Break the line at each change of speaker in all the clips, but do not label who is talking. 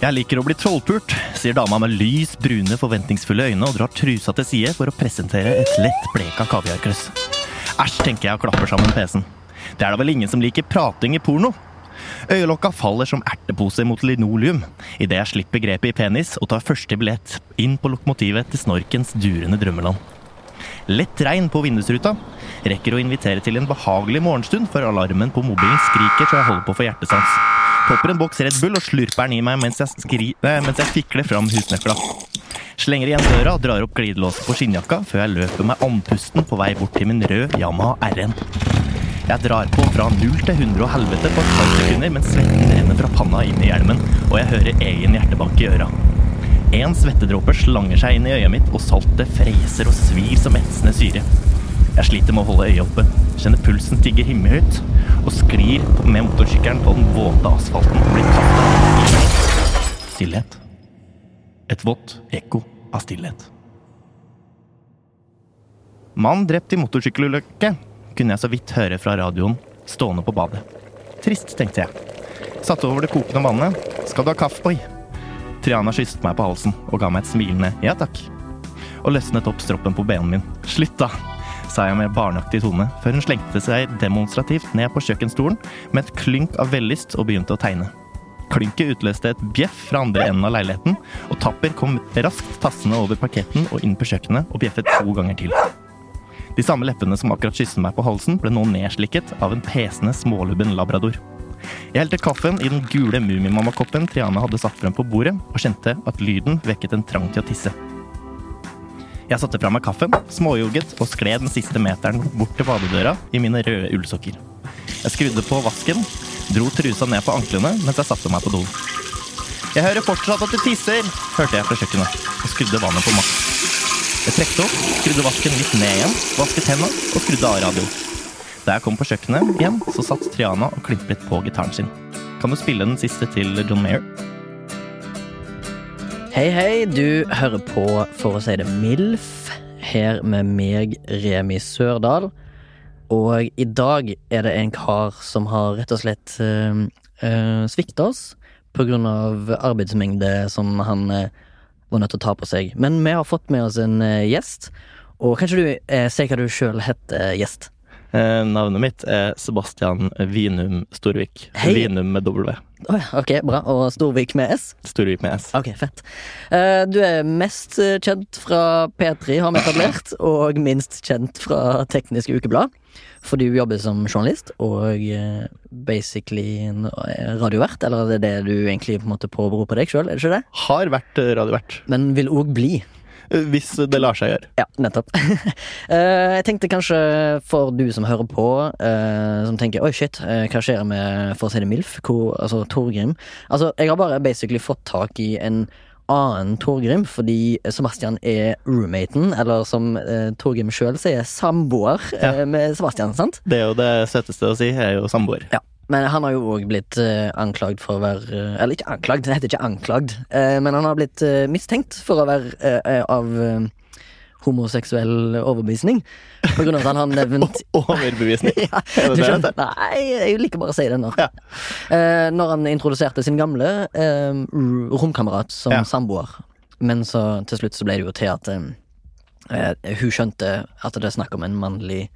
Jeg liker å bli trollpult, sier dama med lys, brune, forventningsfulle øyne og drar trusa til side for å presentere et lett bleka kaviarkrøss. Æsj, tenker jeg og klapper sammen PC-en. Det er da vel ingen som liker prating i porno? Øyelokka faller som ertepose mot linoleum idet jeg slipper grepet i penis og tar første billett inn på lokomotivet til snorkens durende drømmeland. Lett regn på vindusruta. Rekker å invitere til en behagelig morgenstund før alarmen på mobilen skriker så jeg holder på for hjertestans. Popper en boks Red Bull og slurper den i meg mens jeg, skri eh, mens jeg fikler fram husnøkla. Slenger igjen døra og drar opp glidelåsen på skinnjakka før jeg løper meg andpusten på vei bort til min røde Yamaha RN. Jeg drar på fra 0 til 100 og helvete på et par sekunder mens svetten renner fra panna inn i hjelmen, og jeg hører egen hjertebank i øra. En svettedråpe slanger seg inn i øyet mitt, og saltet freser og svir som etsende syre. Jeg sliter med å holde øyet oppe, kjenner pulsen stige himmelhøyt, og sklir med motorsykkelen på den våte asfalten og blir kastet i stillhet. Et vått ekko av stillhet. Mann drept i motorsykkelulykke kunne jeg så vidt høre fra radioen stående på badet. Trist, tenkte jeg. Satte over det kokende vannet. Skal du ha kaffe? Oi, Triana kysset meg på halsen og ga meg et smilende ja takk. Og løsnet opp stroppen på bh-en min. Slutt, da! sa jeg med barneaktig tone, før hun slengte seg demonstrativt ned på kjøkkenstolen med et klynk av vellyst og begynte å tegne. Klynket utløste et bjeff fra andre enden av leiligheten, og Tapper kom raskt tassende over parketten og inn på kjøkkenet og bjeffet to ganger til. De samme leppene som akkurat kysset meg på halsen, ble nå nedslikket av en pesende, smålubben labrador. Jeg helte kaffen i den gule Mumimamma-koppen Triana hadde satt frem på bordet, og kjente at lyden vekket en trang til å tisse. Jeg satte fra meg kaffen, småjogget og skled den siste meteren bort til badedøra i mine røde ullsokker. Jeg skrudde på vasken, dro trusa ned på anklene mens jeg satte meg på doen. Jeg hører fortsatt at du tisser, hørte jeg fra kjøkkenet, og skrudde vannet på maks. Jeg trekte opp, skrudde vasken litt ned igjen, vasket hendene og skrudde av radioen. Da jeg kom på kjøkkenet igjen, så satt Triana og klimpet på gitaren sin. Kan du spille den siste til John Mayer?
Hei, hei, du hører på For å si det MILF, her med meg, Remi Sørdal. Og i dag er det en kar som har rett og slett uh, svikta oss på grunn av arbeidsmengde som han eh, var nødt til å ta på seg. Men vi har fått med oss en eh, gjest, og kanskje du eh, sier hva du sjøl heter, eh, gjest?
Eh, navnet mitt er Sebastian Vinum Storvik.
Hei.
Vinum med W.
Å ja, ok, bra. Og Storvik med S?
Storvik med S.
Ok, fett. Eh, Du er mest eh, kjent fra P3, har vi etablert, og minst kjent fra Teknisk Ukeblad. For du jobber som journalist og eh, basically en eh, radiovert, eller er det det du egentlig på en måte påberoper på deg sjøl, er det ikke det?
Har vært eh, radiovert.
Men vil òg bli.
Eh, Hvis det lar seg gjøre.
Ja, nettopp. Eh, jeg tenkte kanskje for du som hører på, eh, som tenker 'oi, shit, eh, hva skjer med For å si det MILF', hvor, altså Torgrim Altså, jeg har bare basically fått tak i en annen Torgrim, fordi Sebastian er roommaten, eller som eh, Torgrim sjøl sier, samboer eh, med Sebastian, sant?
Det er jo det søteste å si, jeg er jo samboer.
Ja. Men han har jo òg blitt eh, anklagd for å være eh, Eller ikke anklagd, det heter ikke anklagd, eh, men han har blitt eh, mistenkt for å være eh, eh, av eh, homoseksuell overbevisning. På grunn av at han har nevnt
Overbevisning.
ja,
Er det
du
det
skjønner?
heter?
Nei, jeg liker bare å si det nå.
Ja.
Eh, når han introduserte sin gamle eh, r- romkamerat som
Ja.
samboer. Men så til slutt så ble det jo til at eh, eh, hun skjønte at det er snakk om en mannlig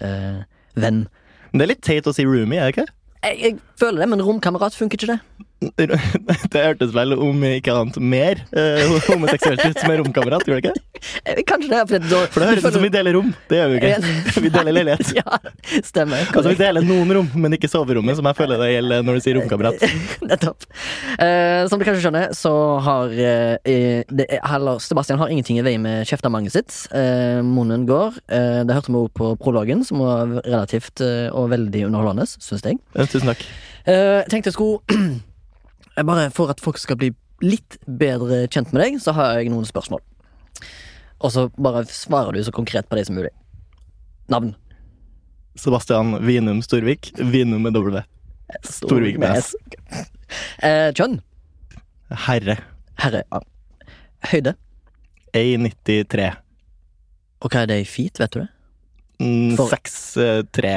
eh, venn.
Men det er litt teit å si roomie, er det ikke?
Jeg, jeg føler det, men romkamerat funker ikke det.
Det hørtes vel om ikke annet mer eh, homoseksuelt ut som en romkamerat, gjorde det ikke?
Eh, Kanskje det, for da
For det høres ut som vi deler rom. Det gjør vi jo ikke. Vi deler leilighet.
Ja, stemmer.
Altså, vi deler noen rom, men ikke soverommet, som jeg føler det gjelder når du sier romkamerat.
Nettopp. Eh, som du kanskje skjønner, så har eh, eh, det, heller, Sebastian har ingenting i vei med kjeftemanget sitt. Eh, munnen går. Eh, det hørte vi også på prologen, som var relativt eh, og veldig underholdende, syns jeg.
Eh, Tusen takk.
Eh, tenkte jeg skulle Jeg bare For at folk skal bli litt bedre kjent med deg, så har jeg noen spørsmål. Og så bare svarer du så konkret på det som mulig. Navn.
Sebastian Vinum Storvik. Vinum med W. Storvik med S.
Eh, kjønn.
Herre.
Herre. Ja. Høyde.
A93.
Og hva er det i feet, vet du det?
Mm,
For-
6-3.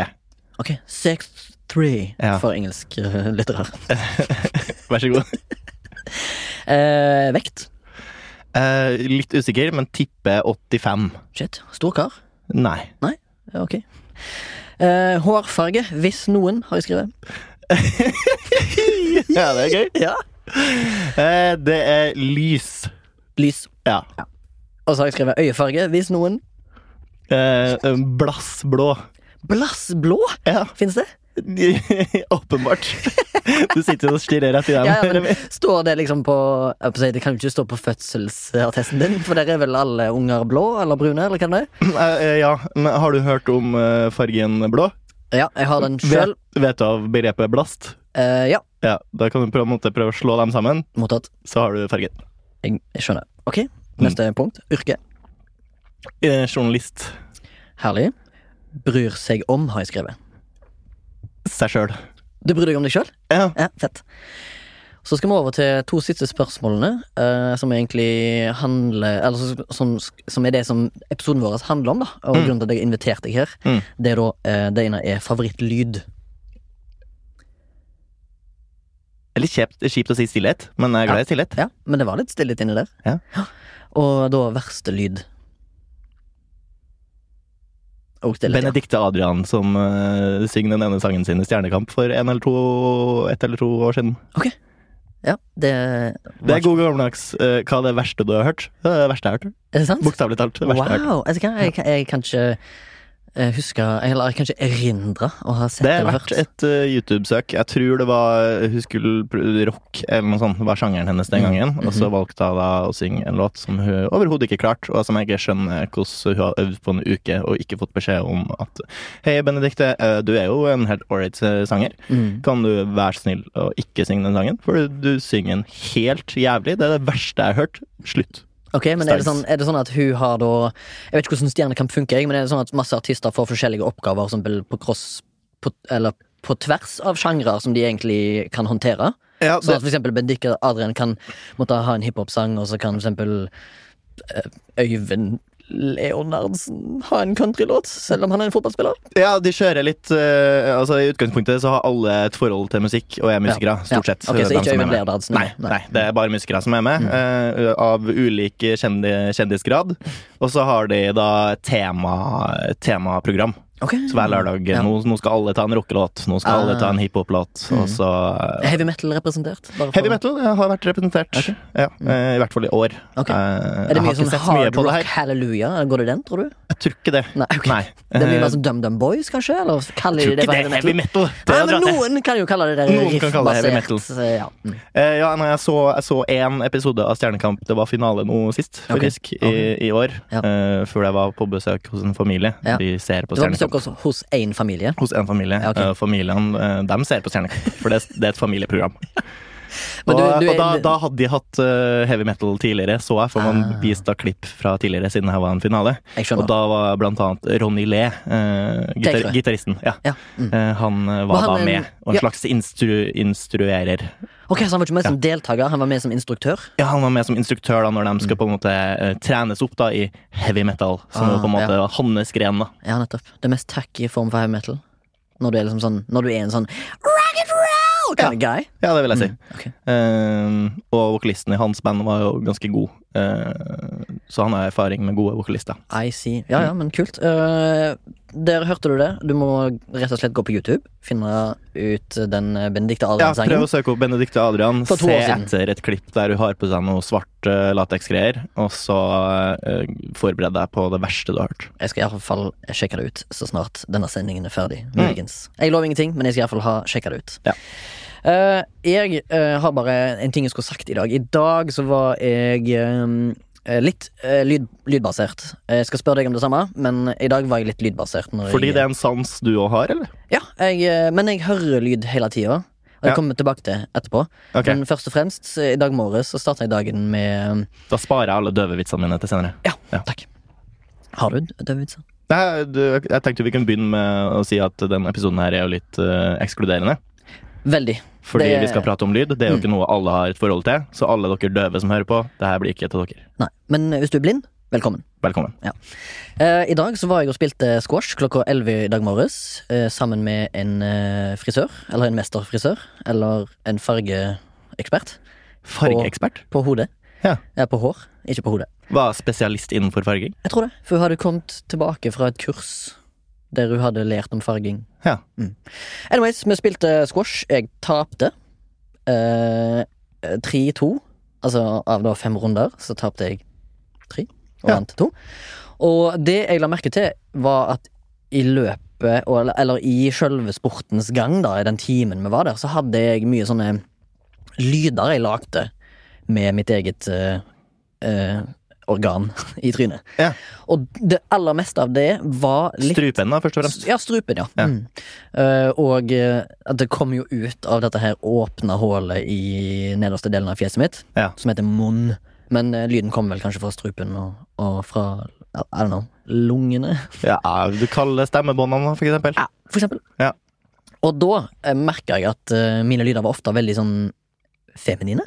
Ok, 6-3
Ja.
for engelske eh, lyttere.
Vær så god.
Eh, vekt.
Eh, litt usikker, men tipper 85.
Shit. Stor kar.
Nei.
Ja, Ok. Eh, hårfarge, hvis noen, har jeg skrevet.
Ja, det er gøy.
Ja.
Eh, det er lys.
Lys.
Ja.
Og så har jeg skrevet øyefarge, hvis noen.
Eh, blassblå.
Blassblå?
Ja.
Fins det?
Åpenbart. Du sitter og stirrer etter dem.
Ja, ja, men Står det liksom på jeg holdt på å si, Det kan jo ikke stå på fødselsattesten din, for der er vel alle unger blå eller brune? eller hva det er?
Eh, eh, ja, men har du hørt om eh, fargen blå?
Ja, jeg har den sjøl.
Vet, vet du av begrepet blast?
Eh, ja,
Ja, Da kan du på en måte prøve å slå dem sammen,
mottatt.
så har du fargen.
Jeg, jeg skjønner. Ok, neste
Mm.
punkt. Yrke.
Eh, journalist.
Herlig. Bryr seg om, har jeg skrevet.
Seg sjøl.
Du bryr deg om deg sjøl?
Ja.
Ja, fett. Så skal vi over til to siste spørsmålene, eh, som egentlig handler Eller så- som, som er det som episoden vår handler om, da. Og grunnen til at jeg har invitert deg her.
Mm.
Det er da eh, Det ene er favorittlyd.
Det er Litt kjipt, kjipt å si stillhet, men jeg er glad i stillhet.
Ja, men det var litt stillhet inni der.
Ja.
Og da verste lyd. Og stillhet. ja.
Benedicte Adrian som eh, synger den ene sangen sin i Stjernekamp for en eller to, ett eller to år siden.
Ja, det,
Det er god gammeldags. Eh, hva er det verste du har hørt? Det er det verste jeg har hørt.
Er det sant?
Bokstavelig talt. Det verste jeg har hørt.
Wow! Jeg, kan, jeg, kan- jeg kan ikke eh, huske Eller jeg kan ikke erindre å ha sett
Det er
eller
verdt
hørt.
et eh, YouTube-søk. Jeg tror det var Hun skulle pr- rock eller noe sånt, var sjangeren hennes den gangen. Og så valgte hun da å synge en låt som hun overhodet ikke klarte, og som jeg ikke skjønner hvordan hun har øvd på en uke og ikke fått beskjed om at Hei, Benedicte, eh, du er jo en helt ålreit eh, sanger.
Mm.
Kan du være snill å ikke synge den sangen? For du synger den helt jævlig. Det er det verste jeg har hørt. Slutt.
Ok, men er det, sånn,
Steins.
er det sånn at hun har da Jeg vet ikke hvordan Stjernekamp funker, jeg, men er det sånn at masse artister får forskjellige oppgaver som bl- på cross på, Eller på tvers av sjangre som de egentlig kan håndtere?
Ja,
Sånn at for eksempel Benedicte Adrian kan måtte ha en hiphop-sang, og så kan for eksempel eh, Øyvind Leonardsen ha en countrylåt, selv om han er en fotballspiller?
Ja, de kjører litt eh, Altså I utgangspunktet så har alle et forhold til musikk og er musikere,
Ja.
stort sett.
Ok, så
dem
ikke
som er
Øyvind
med.
Leonardsen?
Nei, nei, det er bare musikere som er med,
Mm.
eh, av ulik kjendi kjendisgrad. Og så har de da tema, temaprogram.
Ok.
Så hver lørdag
Mm. Ja.
nå, nå skal alle ta en rockelåt, nå skal
Ah. Mm.
alle ta en hiphop-låt, og så eh,
Er Heavy metal representert? Bare for-
Heavy metal eh, har vært representert, ja, eh, i hvert fall i år.
Mm. Ok.
Eh,
Er det
jeg
mye
har ikke
sånn
sett mye
hard
på det
rock
her.
hallelujah? Går det den, tror du?
Jeg tror ikke det.
Nei, ok.
Nei.
Det blir
Eh,
mer sånn DumDum Boys, kanskje? Eller kaller
jeg
de
tror
det
ikke
for heavy
det er heavy
metal?
metal. Det
Nei,
er å dra
men
til.
Noen kan jo kalle det der
Noen kan kalle det heavy
riffbasert eh, ja. Mm.
Eh, ja, nei, jeg, så, jeg så en episode av Stjernekamp. Det var finale nå sist,
Ok.
faktisk, I, i år.
Ja.
Eh, før jeg var på besøk hos en familie.
Ja.
De ser på
Det var besøk
Stjernekamp.
hos- hos én familie.
Hos en familie.
Ja, ok.
Eh, familien eh, dem ser på Stjernekamp, for det, det er et familieprogram.
Men
og
du- du er-
og da, da hadde de hatt eh, heavy metal tidligere, så jeg, for man
Ah.
viste da klipp fra tidligere, siden her var en finale.
Jeg
Og
skjønner.
da var blant annet Ronny Le, eh, gitar
Tenker du?
gitaristen. Ja.
Ja. Mm.
Eh, han eh, var
han
da
en-
med, og en
ja.
slags instru instruerer.
Ok, Så han var ikke med som deltaker, han var med som instruktør?
Ja, han var med som instruktør da når de skal på en måte eh, trenes opp da i heavy metal, som
Ah,
er på en måte var hans gren. da.
Ja, nettopp. Det mest tacky form for heavy metal. Når du er liksom sånn Når du er en sånn rock and roll kind of guy. Mm,
Ja, det vil jeg si.
Ok.
Eh, og vokalisten i hans band var jo ganske god, eh, så han har erfaring med gode vokalister.
I see. Ja, ja, men kult. Eh, der hørte du det. Du må rett og slett gå på YouTube, finne ut den eh, Benedicte
Ja,
Adrian-sangen.
Prøv å søke opp Benedicte Adrian.
For to
Se
år siden.
etter et klipp der hun har på seg noe svart uh, lateksgreier, og så eh, forbered deg på det verste du har hørt.
Jeg skal iallfall sjekke det ut så snart denne sendingen er ferdig. Muligens. Jeg lover ingenting, men jeg skal iallfall ha sjekka det ut.
Mm. Ja.
Eh, jeg eh, har bare en ting jeg skulle sagt i dag. I dag så var jeg eh, litt eh, lyd, lydbasert. Jeg skal spørre deg om det samme, men i dag var jeg litt lydbasert. Når
Fordi
jeg,
det er en sans du òg har, eller?
Ja, jeg, eh, men jeg hører lyd hele tida. Og det
Ja.
kommer vi tilbake til etterpå.
Ok,
Men først og fremst, så i dag morges så starta jeg dagen med eh,
Da sparer jeg alle døvevitsene mine til senere.
Ja,
Ja.
takk. Har du døvevitser?
Nei, du, jeg tenkte vi kunne begynne med å si at denne episoden her er jo litt eh, ekskluderende.
Veldig.
Fordi
Det-
vi skal prate om lyd. Det er jo
Mm.
ikke noe alle har et forhold til. Så alle dere døve som hører på, det her blir ikke til dere.
Nei. Men hvis du er blind, velkommen.
Velkommen.
Eh, I dag så var jeg og spilte squash klokka 11 i dag morges eh, sammen med en eh, frisør, eller en mesterfrisør, eller en fargeekspert
Fargeekspert.
på hodet.
Ja.
Eh, på hår, ikke på hodet.
Var spesialist innenfor farging.
Jeg tror det, for hun hadde kommet tilbake fra et kurs der hun hadde lært om farging.
Ja.
Mm. Anyways, vi spilte squash. Jeg tapte. Eh, 3-2. Altså av da fem runder, så tapte jeg tre og
Ja.
vant to. Og det jeg la merke til, var at i løpet, og- eller, eller i sjølve sportens gang, da, i den timen vi var der, så hadde jeg mye sånne lyder jeg lagde med mitt eget eh, eh, organ i trynet.
Ja.
Og det aller meste av det var litt
Strupen, da, først og fremst.
ja, strupen, ja.
Ja.
Mm. Eh, og eh, at det kom jo ut av dette her åpna hullet i nederste delen av fjeset mitt,
Ja.
som heter munn. Men eh, lyden kom vel kanskje fra strupen og, og fra I don't know, lungene,
Ja, du kaller stemmebåndene, da, for eksempel.
ja, for eksempel.
Ja.
Og da eh, merka jeg at eh, mine lyder var ofte veldig sånn feminine.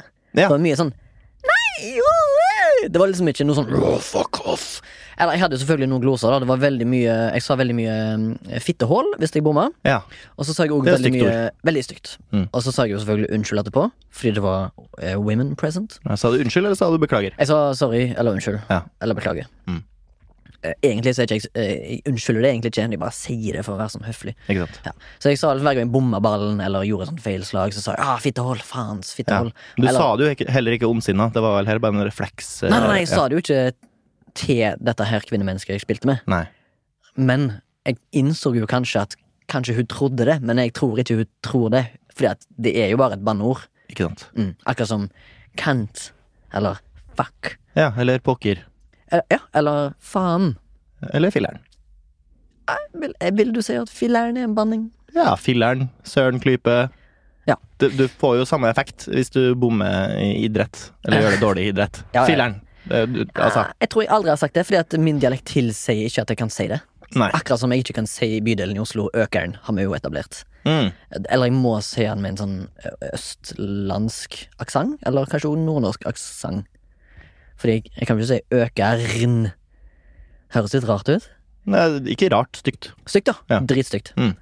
Det
Ja.
var mye sånn Nei! jo, eh!» Det var liksom ikke noe sånn «Åh, Fuck off! Eller jeg hadde jo selvfølgelig noen gloser. da Det var veldig mye Jeg sa veldig mye mm, fittehull hvis jeg bomma.
Ja.
Og så sa jeg også
Det er
veldig
stygt
mye Veldig stygt.
Mm.
Og så sa jeg jo selvfølgelig unnskyld etterpå, fordi det var eh, women present.
Sa du unnskyld, eller sa du beklager?
Jeg sa sorry eller unnskyld.
Ja.
Eller beklager.
Mm.
Eh, Egentlig så er ikke jeg eh, Jeg unnskylder det egentlig ikke, jeg bare sier det for å være sånn høflig.
Ikke sant?
Ja. Så jeg sa hver gang jeg bomma ballen eller gjorde et sånt feilslag, så sa jeg ah, fittehold, faens,
Ja.
fittehold.
Du
Eller-
sa det jo ikke- heller ikke omsinna. Det var vel her bare en refleks. eh,
Nei, nei, nei, jeg
ja.
sa det jo ikke til dette her kvinnemennesket jeg spilte med,
Nei.
men jeg innså jo kanskje at Kanskje hun trodde det, men jeg tror ikke hun tror det, Fordi at det er jo bare et banneord.
Ikke sant.
Mm. Akkurat som kant eller fuck.
Ja, eller pokker.
Eh, Ja, eller faen.
Eller filleren.
Eh, Vil, eh, vil du si at filleren er en banning?
Ja, filleren, søren, klype.
Ja.
Du, du får jo samme effekt hvis du bommer i idrett, eller gjør det dårlig i idrett.
Ja, ja.
Filleren. Det, du, altså,
Eh, Jeg tror jeg aldri har sagt det, fordi at min dialekt tilsier ikke at jeg kan si det.
nei.
Akkurat som jeg ikke kan si i bydelen i Oslo Økeren, har vi jo etablert.
Mm.
Eller jeg må si den med en sånn ø- østlandsk aksent, eller kanskje også nordnorsk aksent. Fordi jeg, jeg kan ikke si økern. Høres litt rart ut.
Nei, ikke rart stygt.
Stygt, da.
Ja.
Dritstygt.
Mm.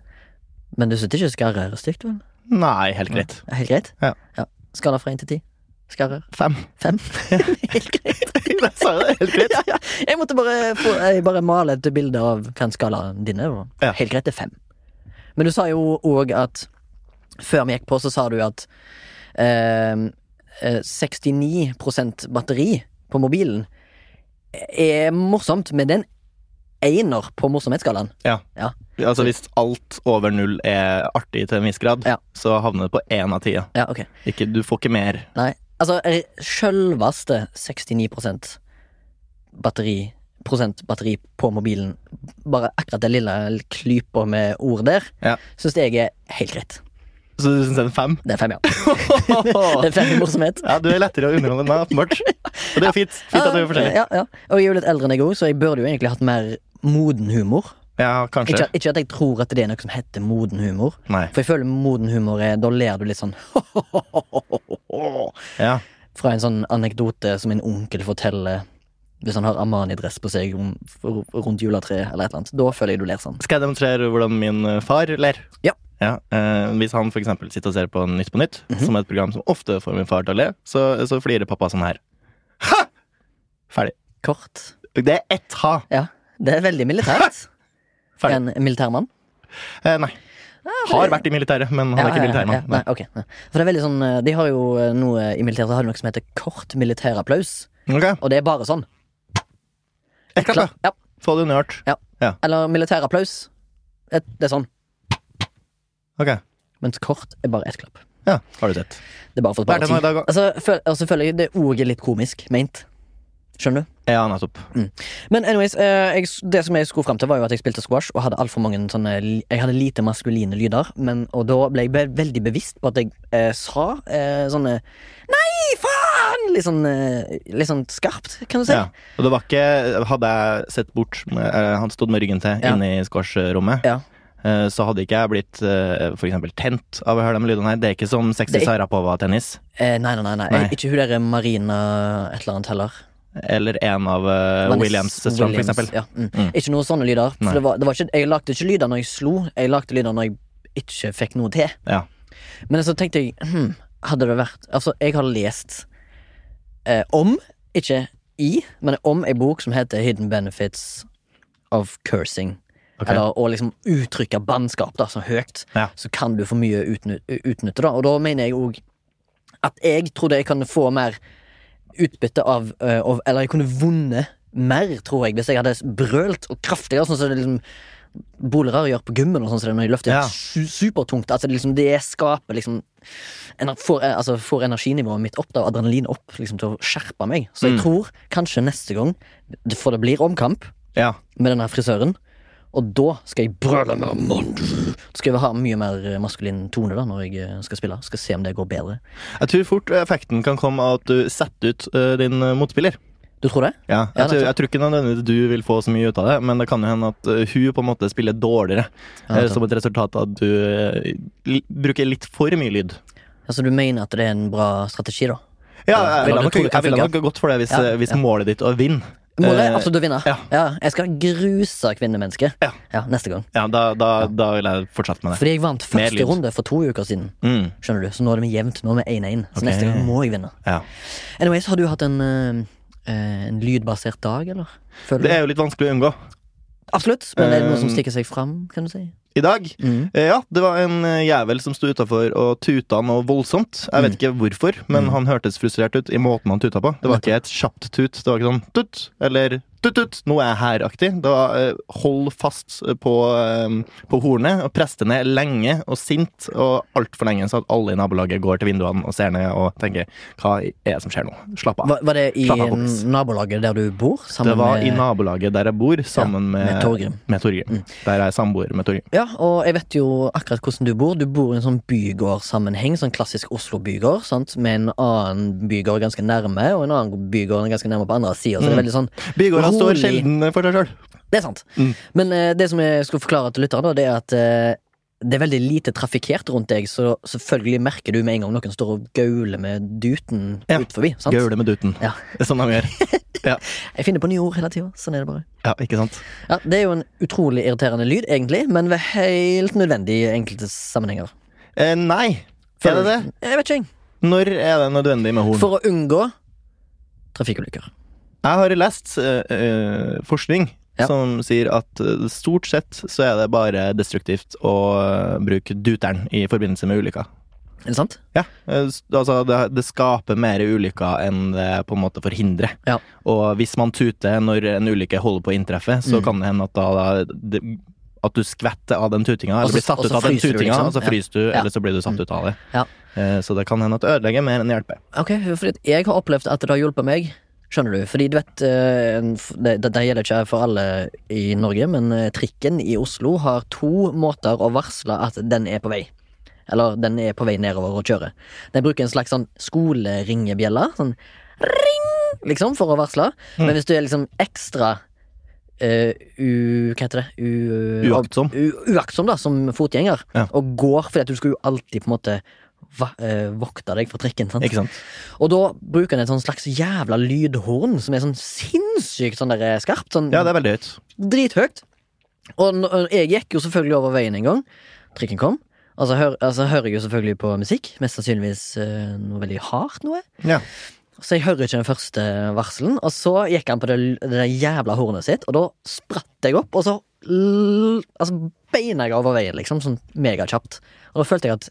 Men du syns ikke skarrer er stygt, vel?
Nei, helt greit.
Er Helt greit?
Ja.
Skala fra én til ti? Skarrer?
Fem.
Fem? Helt greit.
Jeg sa jo det, helt greit.
Ja, ja. Jeg måtte bare, få, jeg bare male et bilde av hva en skala din er. da.
Ja.
Helt greit, det er fem. Men du sa jo òg at Før vi gikk på, så sa du at eh, eh, 69 batteri på mobilen er morsomt, men det er en einer på morsomhetsskalaen.
Altså, hvis alt over null er artig til en viss grad,
Ja.
så havner det på én av tida.
Ja, ok.
Ikke, du får ikke mer.
Nei, altså er- Sjølveste 69 batteri prosent batteri på mobilen Bare akkurat det lille klypa med ord der
Ja.
Synes jeg er helt greit
Så du syns en fem?
Det er fem, ja Det er fem i morsomhet
ja, du er lettere å underholde enn meg, åpenbart. Og det er jo fint. Fint at du er forskjellig.
ja, ja. Og jeg er jo litt eldre enn jeg også Så jeg burde jo egentlig hatt mer moden humor
Ja, kanskje.
ikke, ikke at jeg tror at det er noe som heter moden humor
Nei.
For jeg føler moden humor er Da ler du litt sånn
Ja.
fra en sånn anekdote som min onkel forteller hvis han har Armani-dress på seg om, for, rundt juletreet eller et eller annet. Da føler jeg du ler sånn.
Skal jeg demonstrere hvordan min eh, far ler?
Ja.
eh, hvis han for eksempel sitter og ser på Nytt på nytt,
Mhm.
som er et program som ofte får min far til å le, så, så flirer pappa sånn her. Ha! Ferdig.
Kort.
Det er ett ha.
Ja. Det er veldig militært.
Ferdig.
En militærmann.
Eh, nei.
Ah,
Har vært i militæret, men han er ikke militærmann.
Nei, ok. ja. For det er veldig sånn, eh, de har jo eh, noe i militæret så har de noe som heter kort militær applaus.
Nei. Ok,
Og det er bare sånn.
Ett klapp, da.
Ja.
Få det underhørt.
Eller militær applaus. Det, det er sånn.
Ok.
Mens kort er bare ett klapp.
Ja, har du sett.
Det er bare for å
Hva er
spare
det nå i
tid.
dag?
Altså, føl, altså, føler jeg det òg er litt komisk meint. Skjønner du?
Ja, nettopp.
Men anyways, eh, jeg, det som jeg skulle frem til, var jo at jeg spilte squash og hadde alt for mange sånne Jeg hadde lite maskuline lyder, men, og da ble jeg be veldig bevisst på at jeg eh, sa eh, sånne Nei, faen! Litt sånn, eh, litt sånn skarpt, kan du si.
Ja. Og det var ikke Hadde jeg sett bort eh, Han stod med ryggen til
Ja.
inne i squash-rommet.
Ja.
eh, Så hadde ikke jeg blitt eh, for eksempel tent av å høre de lydene her. Det er ikke som sexy
Det er-
Sarapova-tennis.
Eh, nei, nei, nei. nei.
Nei.
Ikke hun der Marina et eller annet heller.
Eller en av eh,
Vanessa
Williams-søstrene, for
Williams,
eksempel.
Ja. Mm.
Mm.
Ikke noen sånne lyder.
Nei.
For det var, det var ikke, jeg lagde ikke lyder når jeg slo, jeg lagde lyder når jeg ikke fikk noe til.
Ja.
Men så tenkte jeg hm, Hadde det vært Altså, jeg har lest eh, om, ikke i, men om ei bok som heter Hidden Benefits of Cursing.
Ok.
Eller å liksom uttrykke bannskap da, så høyt,
Ja.
så kan du for mye utnytte, utnytte da. Og da mener jeg òg at jeg trodde jeg kunne få mer utbytte av, eh, av Eller jeg kunne vunnet mer, tror jeg, hvis jeg hadde brølt og kraftigere, sånn som det liksom bolere gjør på gymmen og sånn som det når de løfter
Ja.
su supertungt. Altså, det, liksom, det skaper liksom ener får, eh, altså, får energinivået mitt opp da, og adrenalin opp liksom, til å skjerpe meg. Så jeg
Mm.
tror kanskje neste gang, det- for det blir omkamp
Ja.
med denne frisøren, og da skal jeg brøle mer mandel. Da skal jeg ha mye mer eh, maskulin tone da, når jeg eh, skal spille. Skal se om det går bedre.
Jeg tror fort eh, effekten kan komme av at du setter ut eh, din eh, motspiller.
Du tror det?
Ja,
Ja,
jeg, tror,
nettopp.
jeg tror ikke nødvendigvis du vil få så mye ut av det, men det kan jo hende at eh, hun på en måte spiller dårligere.
Ja,
eh,
nettopp.
som et resultat av at du eh, li bruker litt for mye lyd.
Altså, du mener at det er en bra strategi, da?
Ja,
Eller-
jeg ville
eller
nok,
du tror det kan
jeg ville
funke.
nok ha gått for det hvis,
Ja,
eh, hvis målet ditt er å vinne.
Målet er
Eh,
absolutt å vinne.
ja.
jeg skal gruse kvinnemennesket
Ja.
neste gang.
Ja, da, da, da vil jeg fortsette med det.
Fordi jeg vant
Mer lyd.
første runde for to uker siden.
Mm,
Skjønner du, Så nå er det med jevnt. Nå er vi 1-1. Så
Ok.
neste gang må jeg vinne.
ja.
Anyways, Har du hatt en, eh, eh, en lydbasert dag, eller? Føler du?
Det er jo litt vanskelig å unngå.
Absolutt. Men er det noe som
Eh,
stikker seg fram? kan du si?
I dag
Mm.
eh, Ja, det var en eh, jævel som sto utafor og tuta noe voldsomt. Jeg
Mm.
vet ikke hvorfor, men han hørtes frustrert ut i måten han tuta på. Det var ikke et kjapt tut. Det var ikke sånn tut eller tut-tut, nå er jeg her-aktig. Det var eh, hold fast på, eh, på hornet og press det ned lenge og sint og altfor lenge, så at alle i nabolaget går til vinduene og ser ned og tenker hva er det som skjer nå? Slapp av.
Var, var det i
Slapp av, kompis.
nabolaget der du bor? Sammen
Det var eh, i
med
nabolaget der jeg bor, sammen med,
med Mm. Torgrim.
med Torgrim. Der er jeg samboer med Torgrim.
Ja, og jeg vet jo akkurat hvordan du bor. Du bor i en sånn bygårdssammenheng. Sånn klassisk Oslo-bygård, sant? med en annen bygård ganske nærme, og en annen bygård ganrd ganske nærme på andre sida.
Mm.
Så det er veldig sånn
Bygårda står
Rolig.
sjelden for seg sjøl.
Det er sant.
Mm.
Men eh, det som jeg skulle forklare til lytterne, da, det er at eh, det er veldig lite trafikkert rundt deg, så selvfølgelig merker du med en gang noen står og gauler med duten
Ja.
ut forbi. Sant?
Gaule med duten.
Ja.
Sånn de gjør.
Jeg finner på nye ord hele tida. Sånn er det bare.
Ja, ikke sant?
Ja, det er jo en utrolig irriterende lyd, egentlig, men vel helt nødvendig i enkelte sammenhenger.
Eh, nei. Er det det?
Jeg vet ikke, jeg.
Når er det nødvendig med horn?
For å unngå trafikkulykker.
Jeg har lest eh, eh, forskning
Ja.
som sier at eh, stort sett så er det bare destruktivt å eh, bruke duteren i forbindelse med ulykker.
Er det sant?
Ja, eh, s- altså det, det skaper mer ulykker enn det på en måte forhindrer.
Ja.
Og hvis man tuter når en ulykke holder på å inntreffe, så
Mm.
kan det hende at, da, da, det, at du skvetter av den tutinga,
Og så-
eller blir satt
Altså, og så
ut av den
fryser du,
tutinga,
liksom.
og så
Ja.
fryser du,
Ja. Mm.
eller så blir du satt ut av det.
Ja.
Eh, Så det kan hende at det ødelegger mer enn hjelper.
Ok, fordi jeg har opplevd at det har hjulpet meg. Skjønner du? Fordi du vet eh, en f- det, det, det gjelder ikke for alle i Norge, men eh, trikken i Oslo har to måter å varsle at den er på vei. Eller den er på vei nedover og kjører. Den bruker en slags sånn skoleringebjelle. Sånn ring, liksom, for å varsle. Men
Mm.
hvis du er liksom ekstra eh, u... Hva heter det? U, eh,
Uaktsom.
u- uaktsom da, som fotgjenger,
Ja.
og går fordi at du skal jo alltid på en måte va eh, vokte deg for trikken. Sant?
Ikke sant?
Og da bruker han et sånn slags jævla lydhorn som er sånn sinnssykt sånn der skarpt. Sånn
Ja, det er veldig høyt.
drithøyt. Og n- og jeg gikk jo selvfølgelig over veien en gang. Trikken kom. Altså, hør, altså hører jeg jo selvfølgelig på musikk. Mest sannsynligvis eh, noe veldig hardt noe.
Ja.
Så jeg hører ikke den første varselen. Og så gikk han på det, l- det der jævla hornet sitt, og da spratt jeg opp, og så l altså, beina jeg over veien, liksom. Sånn megakjapt. Og da følte jeg at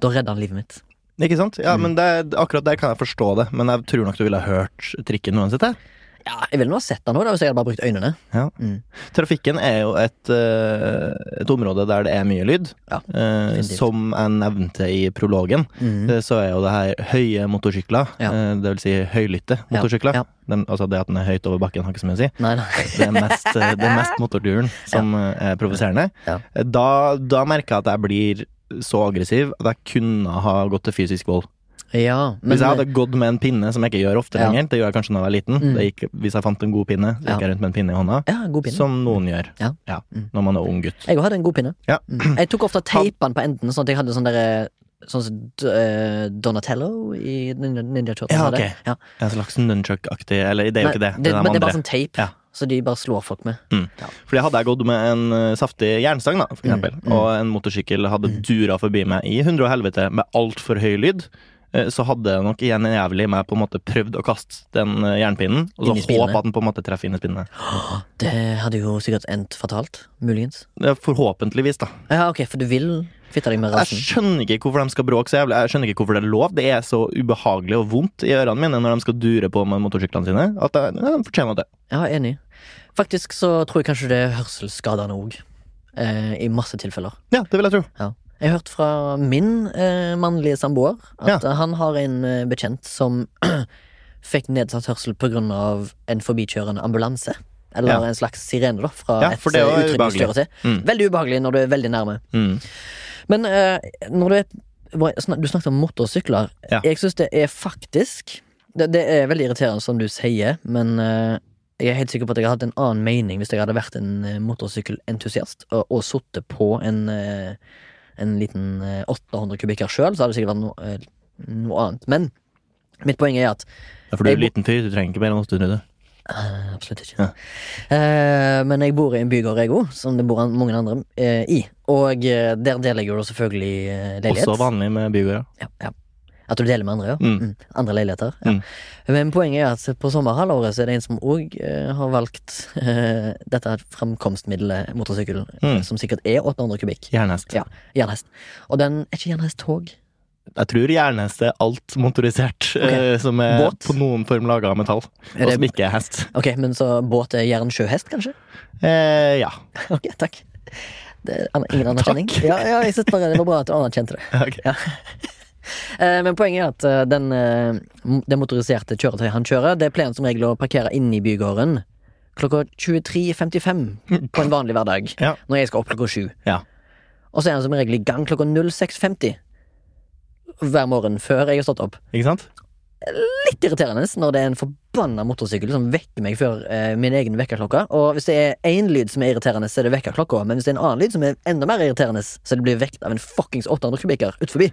da redda han livet mitt. Mm.
Ikke sant? Ja, men det, akkurat der kan jeg forstå det, men jeg tror nok du ville ha hørt trikken uansett. jeg.
Ja, jeg ville nå ha sett han nå, da, hvis jeg hadde bare brukt øynene.
Trafikken er jo et, eh, et område der det er mye lyd.
Ja,
Eh,
definitivt.
som jeg nevnte i prologen,
Mm.
eh, så er jo det her høye motorsykler,
Ja.
eh, det vil si høylytte motorsykler.
ja.
Den, altså det at den er høyt over bakken har ikke så mye å si.
Nei, nei.
Det er mest, eh, det er mest motorduren som eh, er provoserende.
Ja.
Eh, Da, da merker jeg at jeg blir så aggressiv at jeg kunne ha gått til fysisk vold.
Ja, men
hvis jeg hadde gått med en pinne, som jeg ikke gjør ofte
Ja.
lenger, det gjør jeg kanskje når jeg var liten,
Mm.
det gikk, hvis jeg fant en god pinne, så gikk
Ja.
jeg rundt med en pinne i hånda,
eh, Ja, god pinne.
som noen gjør
Ja. Mm.
når man er ung gutt.
Jeg òg hadde en god pinne.
Ja.
Mm. Jeg tok ofte teipen på enden, sånn at jeg hadde sånn derre Sånn som eh, Donatello i Ninja, Ninja Turtles
Ja,
hadde.
ok.
Ja.
En slags nunchuck-aktig Eller det er jo
Men
ikke det. Det er
men
de
det er bare
andre.
sånn teip,
Ja.
så de bare slår folk med.
Fordi hadde jeg gått med en eh, saftig jernstang, da, for
Mm,
eksempel,
mm.
og en motorsykkel hadde dura forbi meg i hundre og helvete med altfor høy lyd, eh, så hadde nok igjen en jævlig meg på en måte prøvd å kaste den eh, jernpinnen, og
Inn i
så
spinene.
håpe at den på en måte treffer inn i spinnene.
Det hadde jo sikkert endt fatalt. Muligens.
Eh, Forhåpentligvis, da.
Ja, ok, for du vil fitte deg med
Jeg
rasen.
skjønner ikke hvorfor de skal bråke så jævlig. Jeg skjønner ikke hvorfor det er lov. Det er så ubehagelig og vondt i ørene mine når de skal dure på med motorsyklene sine, at jeg, ja, de fortjener det.
Ja, enig. Faktisk så tror jeg kanskje det er hørselsskadene òg. Eh, I masse tilfeller.
Ja, det vil jeg tro.
Jeg har hørt fra min eh, mannlige samboer at eh, han har en eh, bekjent som fikk nedsatt hørsel pga. en forbikjørende ambulanse. Eller
Ja.
en slags sirene, da, fra
Ja,
et
for det
eh,
er jo
utrykningskjøre til.
Mm.
Veldig ubehagelig når du er veldig nærme.
Mm.
Men eh, når du er hva- snak- Du snakket om motorsykler.
Ja.
Jeg syns det er faktisk det, det er veldig irriterende, som du sier, men eh, jeg er helt sikker på at jeg hadde hatt en annen mening hvis jeg hadde vært en eh, motorsykkelentusiast og, og sittet på en, eh, en liten eh, 800 kubikker sjøl, så hadde det sikkert vært noe, eh, noe annet. Men mitt poeng er at
Ja, for du er
Jeg
en liten fyr, du trenger ikke mer enn 800.
Eh, Absolutt ikke.
Ja.
Eh, men jeg bor i en bygård, jeg òg, som det bor an- mange andre eh, i. Og eh, der deler jeg jo da selvfølgelig eh, leilighet.
Også vanlig med bygårder.
Ja, ja. At du deler med andre, ja.
Mm.
Mm. Andre leiligheter. Ja.
Mm.
Men poenget er at på sommerhalvåret så er det en som òg eh, har valgt eh, dette framkomstmiddelet motorsykkel, eh,
Mm.
som sikkert er 800 kubikk.
Jernhest.
Ja. Jernhest. Og den er ikke jernhesttog.
Jeg tror jernhest er alt motorisert eh, som er
Båt?
på noen form laga av metall,
Er
og
det-
som ikke er hest.
Ok, men så båt er jernsjøhest, kanskje?
Eh, ja.
Ok, takk. Det er an- ingen anerkjenning. Ja, ja, jeg synes bare det var bra at du anerkjente det.
Ok.
Ja. Eh, Men poenget er at eh, den, eh, m- det motoriserte kjøretøyet han kjører, det pleier han som regel å parkere inne i bygården klokka 23.55 på en vanlig hverdag.
Ja.
Når jeg skal opp klokka sju.
Ja.
Og så er han som regel i gang klokka 06.50 hver morgen før jeg har stått opp.
Ikke sant?
Litt irriterende når det er en forbanna motorsykkel som vekker meg før eh, min egen vekkerklokke. Og hvis det er én lyd som er irriterende, så er det vekkerklokka. Men hvis det er en annen lyd som er enda mer irriterende, så er det blir vekt av en fuckings 800 kubikker ut forbi.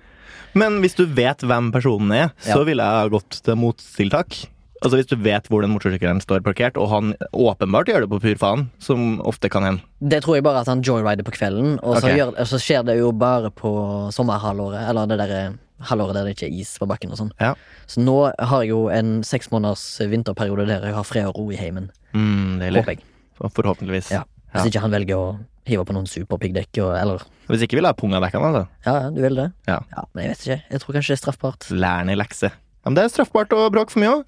Men hvis du vet hvem personen er, så
Ja.
ville jeg ha gått til mottiltak. Altså Hvis du vet hvor den motorsykkelen står parkert, og han åpenbart gjør det på pur faen, som ofte kan hende.
Det tror jeg bare at han joyrider på kvelden, og så,
Ok.
gjør, og så skjer det jo bare på sommerhalvåret. Eller det derre halvåret der det ikke er is på bakken og sånn.
Ja.
Så nå har jeg jo en seks måneders vinterperiode der jeg har fred og ro i heimen.
Mm,
Håper
Deilig.
jeg.
Forhåpentligvis.
Ja. Hvis ikke han velger å hive på noen superpiggdekk og- eller
Hvis ikke ville jeg punga vekk han. Altså.
Ja, ja, du vil det?
Ja.
Men jeg vet ikke. Jeg tror kanskje det er straffbart.
Lær han i lekse. Ja, men det er straffbart å bråke for mye òg.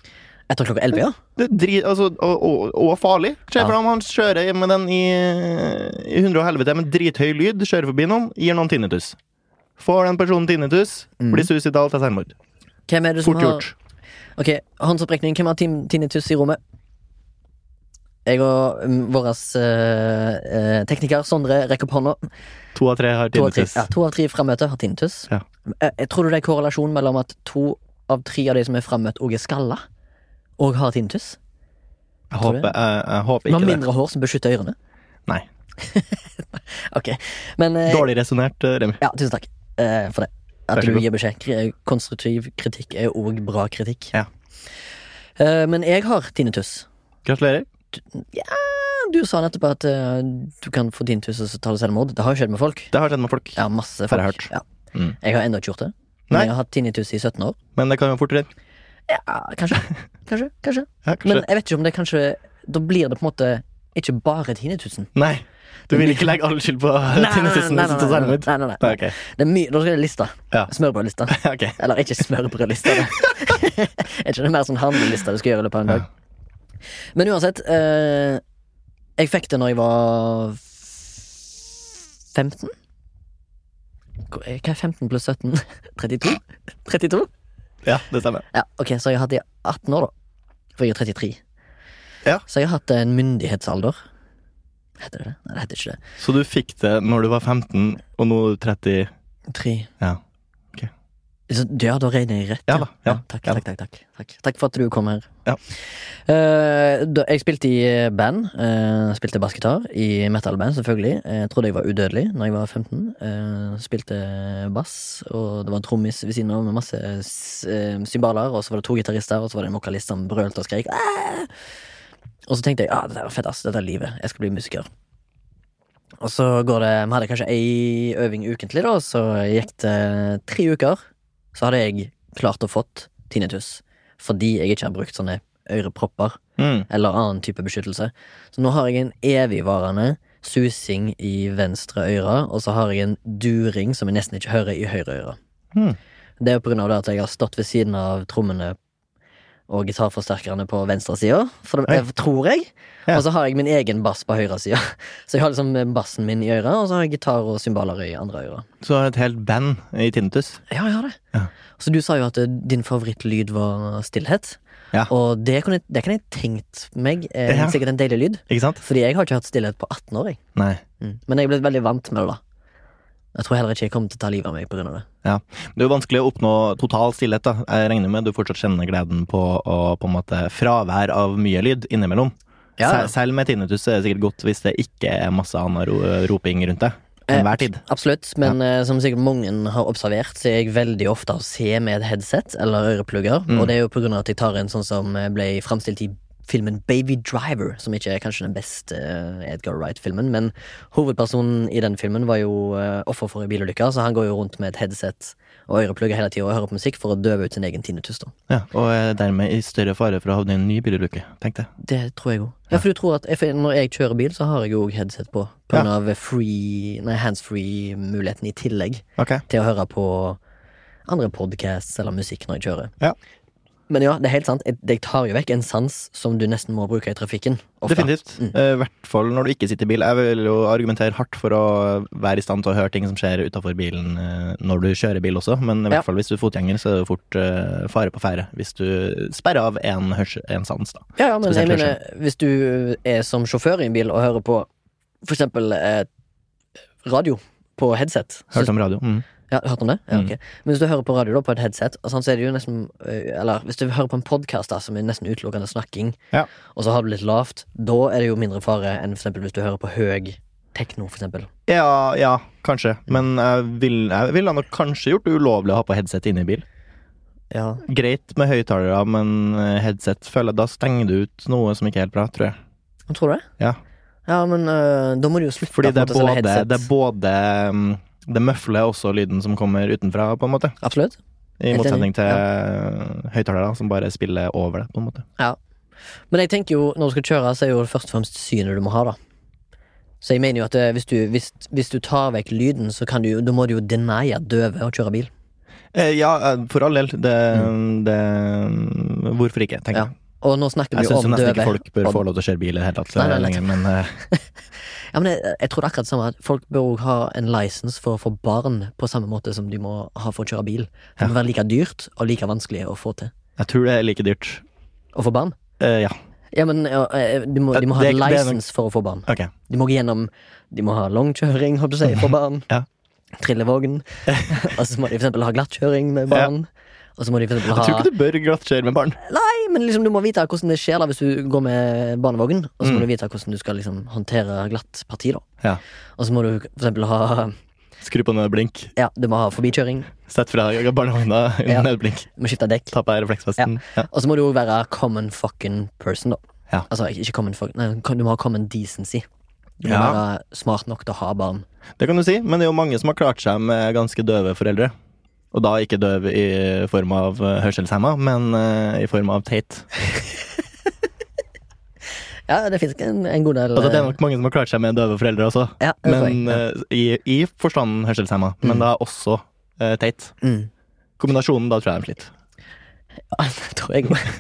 Etter klokka 11, ja?
Det er dri, altså, og, og, og farlig. Se
Ja.
for deg om han kjører med den i, i hundre og helvete med drithøy lyd, kjører forbi noen, gir noen tinnitus. Får den personen tinnitus,
Mhm.
blir suicidal til selvmord.
Hvem er det som
Mm. Fort gjort.
har Ok, håndsopprekning. Hvem har tin- tinnitus i rommet? Jeg og mm, vår eh, eh, tekniker Sondre rekker opp hånda.
To av tre har
To av tre,
tinnitus.
ja, to av tre frammøtte har tinnitus.
Ja.
Eh, eh, tror du det er korrelasjon mellom at to av tre av de som er frammøtt, òg er skalla? Og har tinnitus?
Jeg,
Tror du
håper, jeg, jeg håper
Vi har
ikke
mindre hår som beskytter ørene.
det. Nei.
Ok, men eh,
Dårlig resonnert, eh, Remi.
Ja, tusen takk eh, for det. At
Vær så
du
god.
gir beskjed. Kri- Konstruktiv kritikk er òg bra kritikk.
Ja.
Eh, men jeg har tinnitus.
Gratulerer.
Du sa nettopp at eh, du kan få tinnitus og så tar du selvmord. Det har jo skjedd med folk.
Det har skjedd med folk.
Ja, masse folk.
Har jeg hørt.
Ja.
Mm.
Jeg har ennå ikke gjort det. Men
Nei.
jeg har hatt tinnitus i 17 år.
Men det kan jo fort renne.
Ja, kanskje. Kanskje. kanskje.
Ja,
Men
kanskje.
jeg vet ikke om det kanskje Da blir det på en måte ikke bare tinnitusen.
Nei. Du vil ikke legge all skyld på tinnitusen
nei, nei,
til
nei,
selvmord?
nei, nei,
Nei,
nei.
ok.
Det er mye, Da skal det lista.
Ja.
Smørbrødlista.
Ok.
Eller ikke smørbrødlista. da. er ikke det mer sånn handlelista du skal gjøre i løpet av en dag? Men uansett, eh, jeg fikk det når jeg var f- 15. Hva er hva er 15 pluss 17? 32? 32?
Ja, det stemmer.
Ja, ok, Så jeg har hatt det i 18 år, da. For jeg er 33.
Ja.
Så jeg har hatt en myndighetsalder. Heter det det? Nei, det heter ikke det.
Så du fikk det når du var 15, og nå er du 30
Tre.
Ja. Ok.
Så, ja, da regner jeg rett.
Ja da, ja.
takk,
Ja da.
takk, takk, takk, takk. Takk for at du kom her.
Ja.
Eh, da, jeg spilte i band. eh, spilte bassgitar i metalband, selvfølgelig. Jeg trodde jeg var udødelig når jeg var 15. Eh, spilte bass, og det var en trommis ved siden av med masse s- eh, cymbaler, og så var det to gitarister, og så var det en vokalist som brølte og skrek. «Ah!» Og så tenkte jeg ja, dette er fett, ass. Dette er livet. Jeg skal bli musiker. Og så går det Vi hadde kanskje ei øving ukentlig, da, så gikk det tre uker. Så hadde jeg klart å fått tinnitus fordi jeg ikke har brukt sånne ørepropper
Mm.
eller annen type beskyttelse. Så nå har jeg en evigvarende susing i venstre øre, og så har jeg en during som jeg nesten ikke hører i høyre øre.
Hmm.
Det er jo på grunn av det at jeg har stått ved siden av trommene og gitarforsterkerne på venstre sida, for det,
Oi.
jeg, tror jeg. Og
Ja.
så har jeg min egen bass på høyre sida. Så jeg har liksom bassen min i øret, og så har jeg gitar og cymbaler i andre øret.
Så har jeg et helt band i tinnitus.
Ja, jeg har det.
Ja.
Så du sa jo at eh, din favorittlyd var stillhet.
Ja.
Og det kan, jeg, det kan jeg tenkt meg er
Ja.
sikkert en deilig lyd.
Ikke sant?
Fordi jeg har ikke hatt stillhet på 18 år. Jeg.
Nei.
Men jeg er blitt veldig vant med det. da Jeg tror heller ikke jeg kommer til å ta livet av meg pga. det.
Ja. Det er jo vanskelig å oppnå total stillhet. da. Jeg regner med du fortsatt kjenner gleden på å på en måte fravær av mye lyd innimellom.
Ja, ja.
Se- Selv med tinnitus er det sikkert godt hvis det ikke er masse annen ro roping rundt deg.
Eh,
Enhver tid.
Absolutt, men eh, som sikkert mange har observert, så er jeg veldig ofte å se med et headset eller øreplugger.
Mm.
Og det er jo på grunn av at jeg tar en sånn som eh, ble framstilt i filmen Baby Driver, som ikke er kanskje den beste eh, Edgar Wright-filmen, men hovedpersonen i den filmen var jo eh, offer for en bilulykke, så han går jo rundt med et headset og øreplugger hele tida og hører på musikk for å døve ut sin egen tinnitus, da.
Ja, og er dermed i større fare for å havne i en ny bilulykke. Tenk det.
Det tror jeg òg. Ja, for du tror at for når jeg kjører bil, så har jeg jo òg headset på, på
Ja.
grunn av free, nei, handsfree-muligheten i tillegg.
Ok.
til å høre på andre podcasts eller musikk når jeg kjører.
Ja.
Men ja, det er helt sant. Jeg, jeg tar jo vekk en sans som du nesten må bruke i trafikken. ofte.
Definitivt. Eh, I
Mm.
hvert fall når du ikke sitter i bil. Jeg vil jo argumentere hardt for å være i stand til å høre ting som skjer utafor bilen eh, når du kjører bil også, men
Ja.
i hvert fall hvis du er fotgjenger, så er det jo fort eh, fare på ferde hvis du sperrer av en, hørs- en sans, da.
Ja, ja, men jeg
Spesielt
mener, hvis du er som sjåfør i en bil og hører på for eksempel eh, radio på headset så-
Hørte om radio. Mm.
Ja, hørt om det? Ja,
Mm.
ok. Men hvis du hører på radio da, på et headset, og sånn, så er det jo nesten eh, Eller hvis du hører på en podkast som er nesten utelukkende snakking,
Ja.
og så har du litt lavt, da er det jo mindre fare enn for eksempel hvis du hører på høy tekno, for eksempel.
Ja, ja, kanskje. Men jeg vil- jeg ville nok kanskje gjort det ulovlig å ha på headset inne i bil.
Ja,
Greit med høyttalere, men eh, headset føler jeg da stenger du ut noe som ikke er helt bra, tror jeg.
Han tror det?
Ja.
Ja, men øh, da må du jo slutte på
Fordi
en
det er
måte å selge
både,
headset.
det er både mm, Det møfler også lyden som kommer utenfra, på en måte.
Absolutt.
I
Helt
motsetning
enig,
til høyttalere som bare spiller over det, på en måte.
Men jeg tenker jo, når du skal kjøre, så er jo det først og fremst synet du må ha, da. Så jeg mener jo at øh, hvis du, hvis, hvis du tar vekk lyden, så kan du, jo- da må du jo denie døve å kjøre bil.
Eh, ja, eh, for all del. Det, det Hvorfor ikke, tenker
Ja.
jeg.
Og nå snakker vi
Jeg
jo
syns
om
nesten
døve.
ikke folk bør
Og-
få lov til å kjøre bil i det hele tatt
Nei, nei, nei.
lenger, men eh,
Ja, men jeg, jeg tror det er akkurat det samme. at Folk bør også ha en lisens for å få barn på samme måte som de må ha for å kjøre bil. Det må være like dyrt og like vanskelig å få til.
jeg tror det er like dyrt.
Å få barn?
Eh, ja,
Ja, men ja, øh, de må, de må ha
Det-
en
det er nok-
lisens for å få barn.
ok.
De må gå gjennom De må ha langkjøring holdt på å si, for barn.
Ja.
Trillevogn. og så må de for eksempel ha glattkjøring med barn. Og så må de for eksempel
Jeg tror
ha
ikke du bør glattkjøre med barn.
Nei, men liksom, du må vite hvordan det skjer da hvis du går med barnevogn. Og så må
Mm.
du vite hvordan du skal liksom, håndtere glatt parti. da
Ja.
Og så må du for eksempel ha
Skru på nødblink.
Ja, du må ha forbikjøring.
Sett fra deg barnevogna
Ja.
under nødblink.
Du må skifte dekk.
Ta på deg refleksvesten. Ja.
Og så må du jo være common fucking person, da.
Ja.
Altså ikke common fuck Nei, du må ha common decency. Du må
Ja.
være smart nok til å ha barn.
Det kan du si, men det er jo mange som har klart seg med ganske døve foreldre. Og da ikke døv i form av eh, hørselshemma, men eh, i form av teit.
Ja, det fins en, en god del
Altså, det
eh,
er nok mange som har klart seg med døve foreldre også,
ja, Mm. det tror jeg.
men eh, i, i forstanden hørselshemma. Men da også eh, teit.
Mm.
Kombinasjonen, da tror jeg de sliter.
Ja, det tror jeg òg.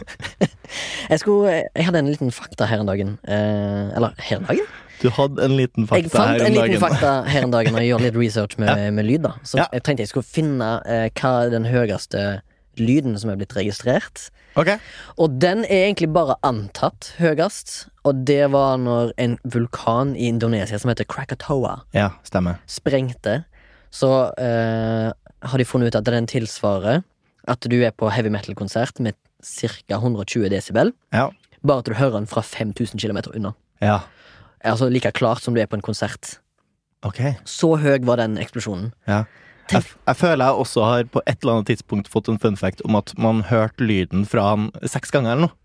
Jeg, skulle, jeg hadde en liten fakta her en dagen. Eh, eller her en dagen?
Du hadde en liten
Jeg
fakta
fant
her
en
om
liten
dagen.
fakta her en dagen og gjorde litt research med, med lyd. da Så
Ja.
jeg tenkte jeg skulle finne eh, hva er den høyeste lyden som er blitt registrert.
Ok.
Og den er egentlig bare antatt høyest, og det var når en vulkan i Indonesia som heter Krakatoa,
Ja, stemmer.
sprengte. Så eh, har de funnet ut at den tilsvarer at du er på heavy metal-konsert med ca. 120 desibel,
Ja.
bare at du hører den fra 5000 km unna.
Ja.
Altså like klart som du er på en konsert.
Ok.
Så høy var den eksplosjonen.
Ja. Jeg,
Tenk-
jeg føler jeg også har på et eller annet tidspunkt fått en fun fact om at man hørte lyden fra han seks ganger eller noe.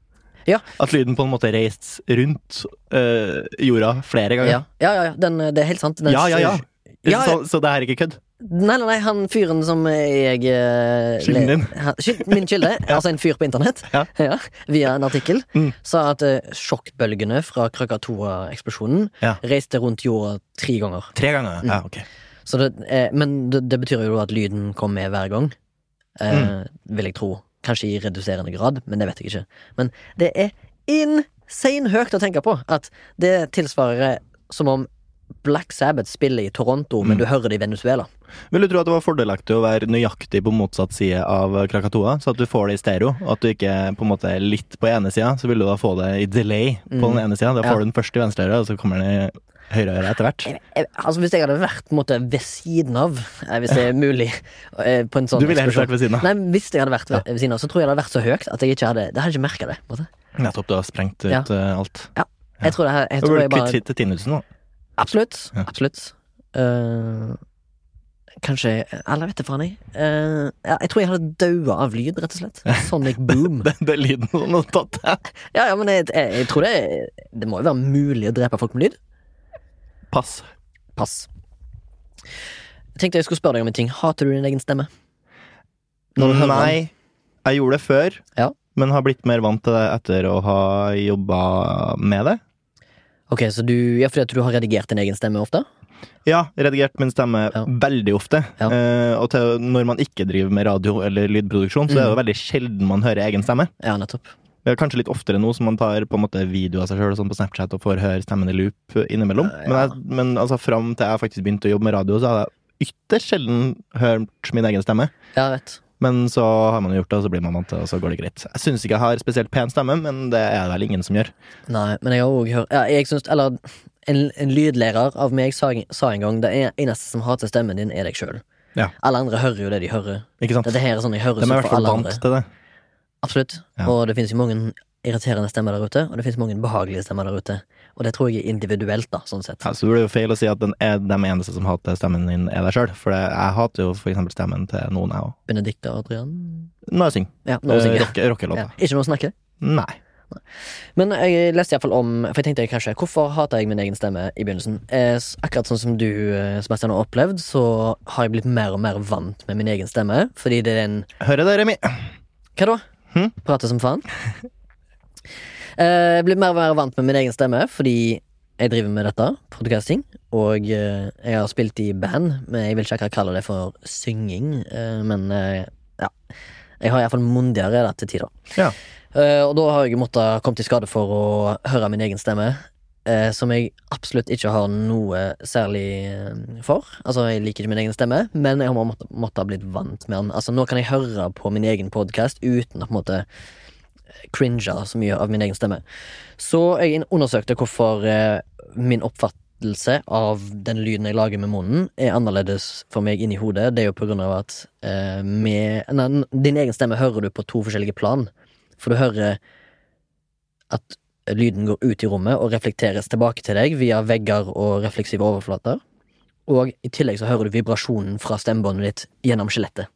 Ja.
At lyden på en måte reiste rundt eh, jorda flere ganger.
Ja, ja, ja, ja den, eh, det er helt sant. Den,
Ja, ja, ja.
Ja,
Så, så det her er ikke kødd?
Nei, nei, nei, han fyren som jeg eh,
Kilden din.
le- han- skyld- Min kilde, altså en fyr på internett,
Ja.
via en artikkel,
Mm.
sa at eh, sjokkbølgene fra Krakatoa-eksplosjonen
Ja.
reiste rundt jorda tre ganger.
Tre ganger?
Mm.
Ja, ok.
Så det, eh, men det, det betyr jo at lyden kom med hver gang, eh,
Mm.
vil jeg tro. Kanskje i reduserende grad, men det vet jeg ikke. Men det er insane høyt å tenke på at det tilsvarer som om Black Sabbath spiller i Toronto, men
Mm.
du hører det i Venezuela.
Vil du tro at det var fordelaktig å være nøyaktig på motsatt side av Krakatoa, så at du får det i stereo? Og at du ikke på en måte er litt på ene sida, så vil du da få det i delay på
Mm.
den ene sida. Da
Ja.
får du den først i venstre øre, og så kommer den i høyre øre etter hvert.
jeg, jeg, altså Hvis jeg hadde vært på en måte, ved siden av, eh, hvis det er mulig eh, på en sånn
Du ville helst
eksplosjon.
vært ved siden av.
Nei, men Hvis jeg hadde vært ved, ved siden av, så tror jeg det hadde vært så høyt at jeg ikke hadde Det hadde jeg ikke merket det. på en måte.
Nettopp, du har sprengt ut
Ja.
eh, alt.
Jeg tror det her- jeg
Da
tror
burde
jeg
du
bare,
kvitte til tinnusen nå.
Absolutt.
Ja.
Absolutt. Eh, kanskje Eller vet du faen, jeg. Eh, ja, jeg tror jeg hadde daua av lyd, rett og slett. Sonic boom.
Det, det er lyden som har tatt deg.
Ja, ja, men jeg, jeg, jeg tror det Det må jo være mulig å drepe folk med lyd.
Pass.
Pass. Jeg tenkte jeg skulle spørre deg om en ting. Hater du din egen stemme? Når du hører den.
Nei, jeg gjorde det før,
Ja.
men har blitt mer vant til det etter å ha jobba med det.
Ok, så du, ja, fordi at du har redigert din egen stemme ofte?
Ja, redigert min stemme
Ja.
veldig ofte.
Ja.
Eh, og til, når man ikke driver med radio eller lydproduksjon, så er det
Mm.
jo veldig sjelden man hører egen stemme.
Ja, nettopp.
Det er kanskje litt oftere nå som man tar på en måte video av seg sjøl sånn på Snapchat og får høre stemmen i loop innimellom.
Ja,
Men,
ja.
jeg, men altså, fram til jeg faktisk begynte å jobbe med radio, så hadde jeg ytterst sjelden hørt min egen stemme.
Ja, jeg vet.
Men så har man gjort det, og så blir man vant til det, og så går det greit. Jeg syns ikke jeg har spesielt pen stemme, men det er det vel ingen som gjør.
Nei, men jeg har òg hørt ja, Jeg syns Eller en, en lydlærer av meg sa, sa en gang det en- eneste som hater stemmen din, er deg sjøl.
Ja.
Alle andre hører jo det de hører.
Ikke sant?
Dette her er sånn jeg hører
De er i
så
hvert
for
fall
alle
vant
andre.
til det.
Absolutt.
Ja.
Og det finnes jo mange irriterende stemmer der ute, og det finnes mange behagelige stemmer der ute. Og det tror jeg er individuelt, da, sånn sett.
Ja, så det blir jo feil å si at den er, de eneste som hater stemmen din, er deg sjøl. For det, jeg hater jo for eksempel stemmen til noen, jeg òg.
Benedicte og Adrian
Når jeg synger.
Ja, nå synger jeg.
Rocke, rockelåta.
Ja. Ikke noe å snakke.
Nei.
Men eh, jeg leste i hvert fall om For jeg tenkte kanskje Hvorfor hater jeg min egen stemme i begynnelsen? Eh, s- akkurat sånn som du, eh, Sebastian, har opplevd, så har jeg blitt mer og mer vant med min egen stemme. Fordi det er en
Hører det, Remi?
Hva da?
Hm?
Prater som faen? Eh, jeg blir mer og mer vant med min egen stemme fordi jeg driver med dette, podcasting. Og eh, jeg har spilt i band, men jeg vil ikke akkurat kalle det for synging. Eh, men eh, ja. Jeg har iallfall mundigere det til tider.
Ja.
Eh, og da har jeg måttet komme til skade for å høre min egen stemme, eh, som jeg absolutt ikke har noe særlig eh, for. Altså, jeg liker ikke min egen stemme, men jeg har måttet, måttet ha blitt vant med den. Altså, nå kan jeg høre på min egen podkast uten å på en måte cringe så mye av min egen stemme. Så jeg inn- undersøkte hvorfor eh, min oppfattelse av den lyden jeg lager med munnen, er annerledes for meg inni hodet. Det er jo på grunn av at eh, med, nei, n- din egen stemme hører du på to forskjellige plan. For du hører at lyden går ut i rommet og reflekteres tilbake til deg via vegger og refleksive overflater. Og i tillegg så hører du vibrasjonen fra stemmebåndet ditt gjennom skjelettet.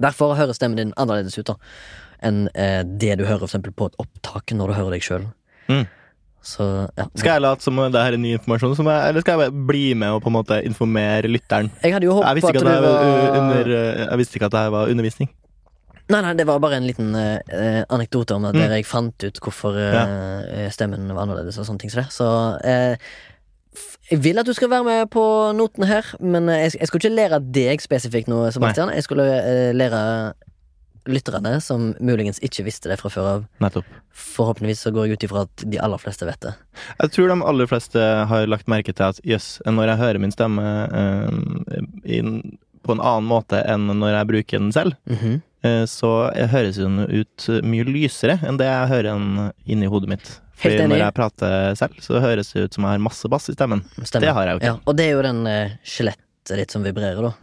Derfor høres stemmen din annerledes ut da enn eh, det du hører for eksempel på et opptak når du hører deg sjøl.
Mm.
Så ja.
Skal jeg late som om det her er ny informasjon, som jeg, eller skal jeg bare bli med og på en måte informere lytteren?
Jeg hadde jo
Jeg
håpet
visste
at,
ikke at,
du
det
var
her var, eh, under, jeg visste ikke at det her var undervisning.
Nei, nei, det var bare en liten eh, eh, anekdote
Mm.
om det, der jeg fant ut hvorfor eh, stemmen var annerledes og sånne ting. Så, det. så eh, f- jeg vil at du skal være med på notene her, men eh, jeg, jeg skulle ikke lære deg spesifikt nå, Sebastian. Jeg skulle eh, lære lytterne, som muligens ikke visste det fra før av,
Nettopp.
forhåpentligvis så går jeg ut ifra at de aller fleste vet det.
Jeg tror de aller fleste har lagt merke til at jøss, når jeg hører min stemme eh, i, en- på en annen måte enn når jeg bruker den selv,
Mhm.
eh, så jeg høres den ut mye lysere enn det jeg hører den inni hodet mitt. Fordi
Helt enig.
når jeg prater selv, så høres det ut som jeg har masse bass i stemmen.
Stemmer.
Det har jeg jo ikke.
Ja, og det er jo den eh, skjelettet ditt som vibrerer, da.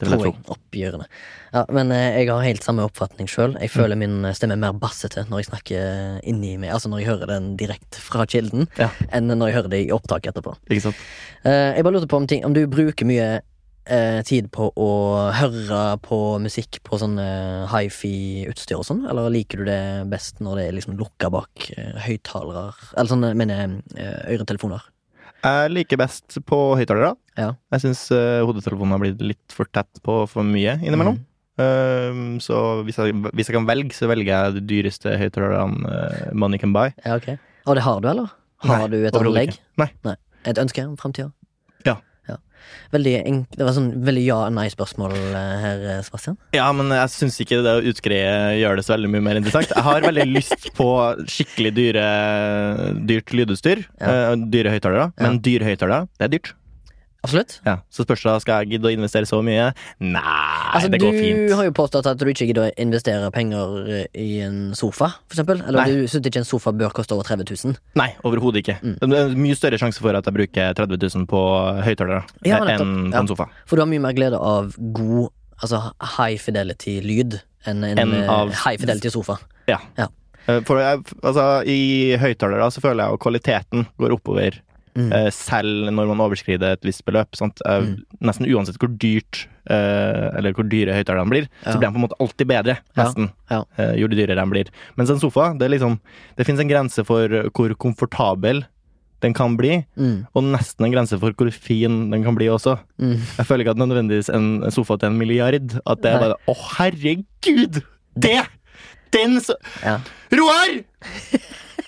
Det vil jeg
tror
tro.
jeg. Oppgjørende. Ja, men eh, jeg har helt samme oppfatning sjøl.
Mm.
Jeg føler min eh, stemme er mer bassete når jeg snakker inni meg, altså når jeg hører den direkte fra kilden,
Ja.
enn når jeg hører det i opptaket etterpå.
Ikke sant?
Eh, jeg bare lurte på om, ting, om du bruker mye eh, tid på å høre på musikk på sånn eh, hifi-utstyr og sånn, eller liker du det best når det er liksom lukka bak eh, høyttalere, eller sånne, mener jeg, eh, øretelefoner?
Jeg liker best på høyttalere.
Ja.
Jeg syns hodetelefonen har blitt litt for tett på for mye
Mhm.
innimellom. Eh, så hvis jeg, hvis jeg kan velge, så velger jeg de dyreste høyttalerne eh, money can buy.
Ja, ok. Og det har du, eller? Har
Nei,
du et
overhodet
anlegg?
ikke. Nei.
Et ønske om framtida?
Ja.
Veldig enk det var sånn veldig ja- og nei-spørsmål eh, her, eh, Sebastian.
Ja, men jeg syns ikke det å utgreie gjør det så veldig mye mer interessant. Jeg har veldig lyst på skikkelig dyre, dyrt lydutstyr.
Ja.
eh, dyre høyttalere.
Ja.
Men dyre høyttalere, det er dyrt.
Absolutt.
Ja. Så spørs det, skal jeg gidde å investere så mye? Nei,
Altså,
det
du
går fint.
har jo påstått at du ikke gidder å investere penger eh, i en sofa, for eksempel. Eller
Nei.
du syns ikke en sofa bør koste over 30 000.
Nei, overhodet ikke.
Mm.
Det er mye større sjanse for at jeg bruker 30 000 på høyttalere
Ja,
eh,
nettopp.
enn på
Ja.
en sofa.
For du har mye mer glede av god, altså high fidelity-lyd enn en,
Enn
eh,
av-
high fidelity-sofa.
Ja.
Ja.
Eh, For jeg, altså, I høyttalere så føler jeg at kvaliteten går oppover,
Mm.
eh, selv når man overskrider et visst beløp. Sant? Eh, Nesten uansett hvor dyrt eh, eller hvor dyre høyttalerne blir,
Ja.
så blir de på en måte alltid bedre.
Ja.
Nesten.
Ja.
eh, jo dyrere de blir. Mens en sofa, det, er liksom, det fins en grense for hvor komfortabel den kan bli,
Mm.
og nesten en grense for hvor fin den kan bli også.
Mm.
Jeg føler ikke at nødvendigvis en en sofa til en milliard At det er
Nei.
bare Å, herregud! Det! Den så
Ja.
Roar!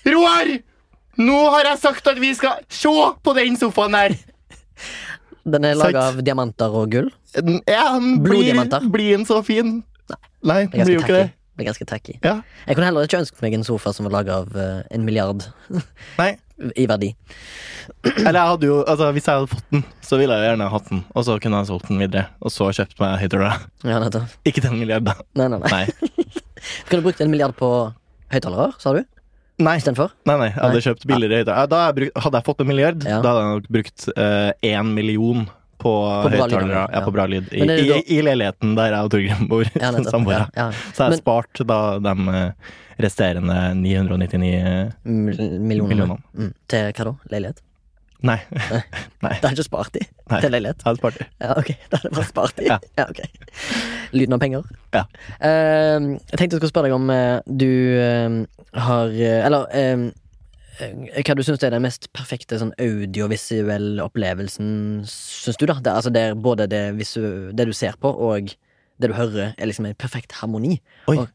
Roar! Nå har jeg sagt at vi skal se på den sofaen der!
Den er laga
Sagt.
av diamanter og gull.
Den- Ja, den blir,
Bloddiamanter.
blir den så fin? Nei,
Det
den
er ganske
blir jo ikke
tacky.
det.
Det er ganske tacky.
Ja.
Jeg kunne heller ikke ønsket meg en sofa som var laga av eh, en milliard
Nei.
i verdi.
Eller jeg hadde jo Altså, hvis jeg hadde fått den, så ville jeg jo gjerne hatt den. Og så kunne jeg solgt den videre. Og så kjøpt meg Hydra.
Ja, nettopp.
Ikke den milliarden.
Nei, nei, nei.
Nei.
Kunne du brukt en milliard på høyttalere, sa du?
Nei.
Istedenfor?
Nei, nei, jeg hadde kjøpt billigere høyttaler. Ja, da hadde jeg brukt- Hadde jeg fått en milliard,
Ja.
da hadde jeg nok brukt én million på,
bra lyd,
høyttalere. Ja,
ja.
på bra lyd. I,
Men er det
i, I leiligheten der jeg og Torgrim bor.
Ja,
som
nettopp.
samboere.
Ja, ja.
Så jeg
Men-
har spart da de eh, resterende 999
Mil- Millioner.
millionene.
Mm. Til hva da? Leilighet?
Nei,
Det har ikke spart i?
Nei.
Til leilighet?
jeg har spart det.
Ja, ok. Da hadde det vært spart i. Ja.
Ja.
ok. Lyden av penger.
Ja.
Eh, jeg tenkte jeg skulle spørre deg om eh, du eh, har eh, Eller eh, hva du syns er den mest perfekte sånn audiovisuelle opplevelsen, syns du, da? Det, altså der både det, visu, det du ser på, og det du hører, er liksom en perfekt harmoni.
Oi.
Og,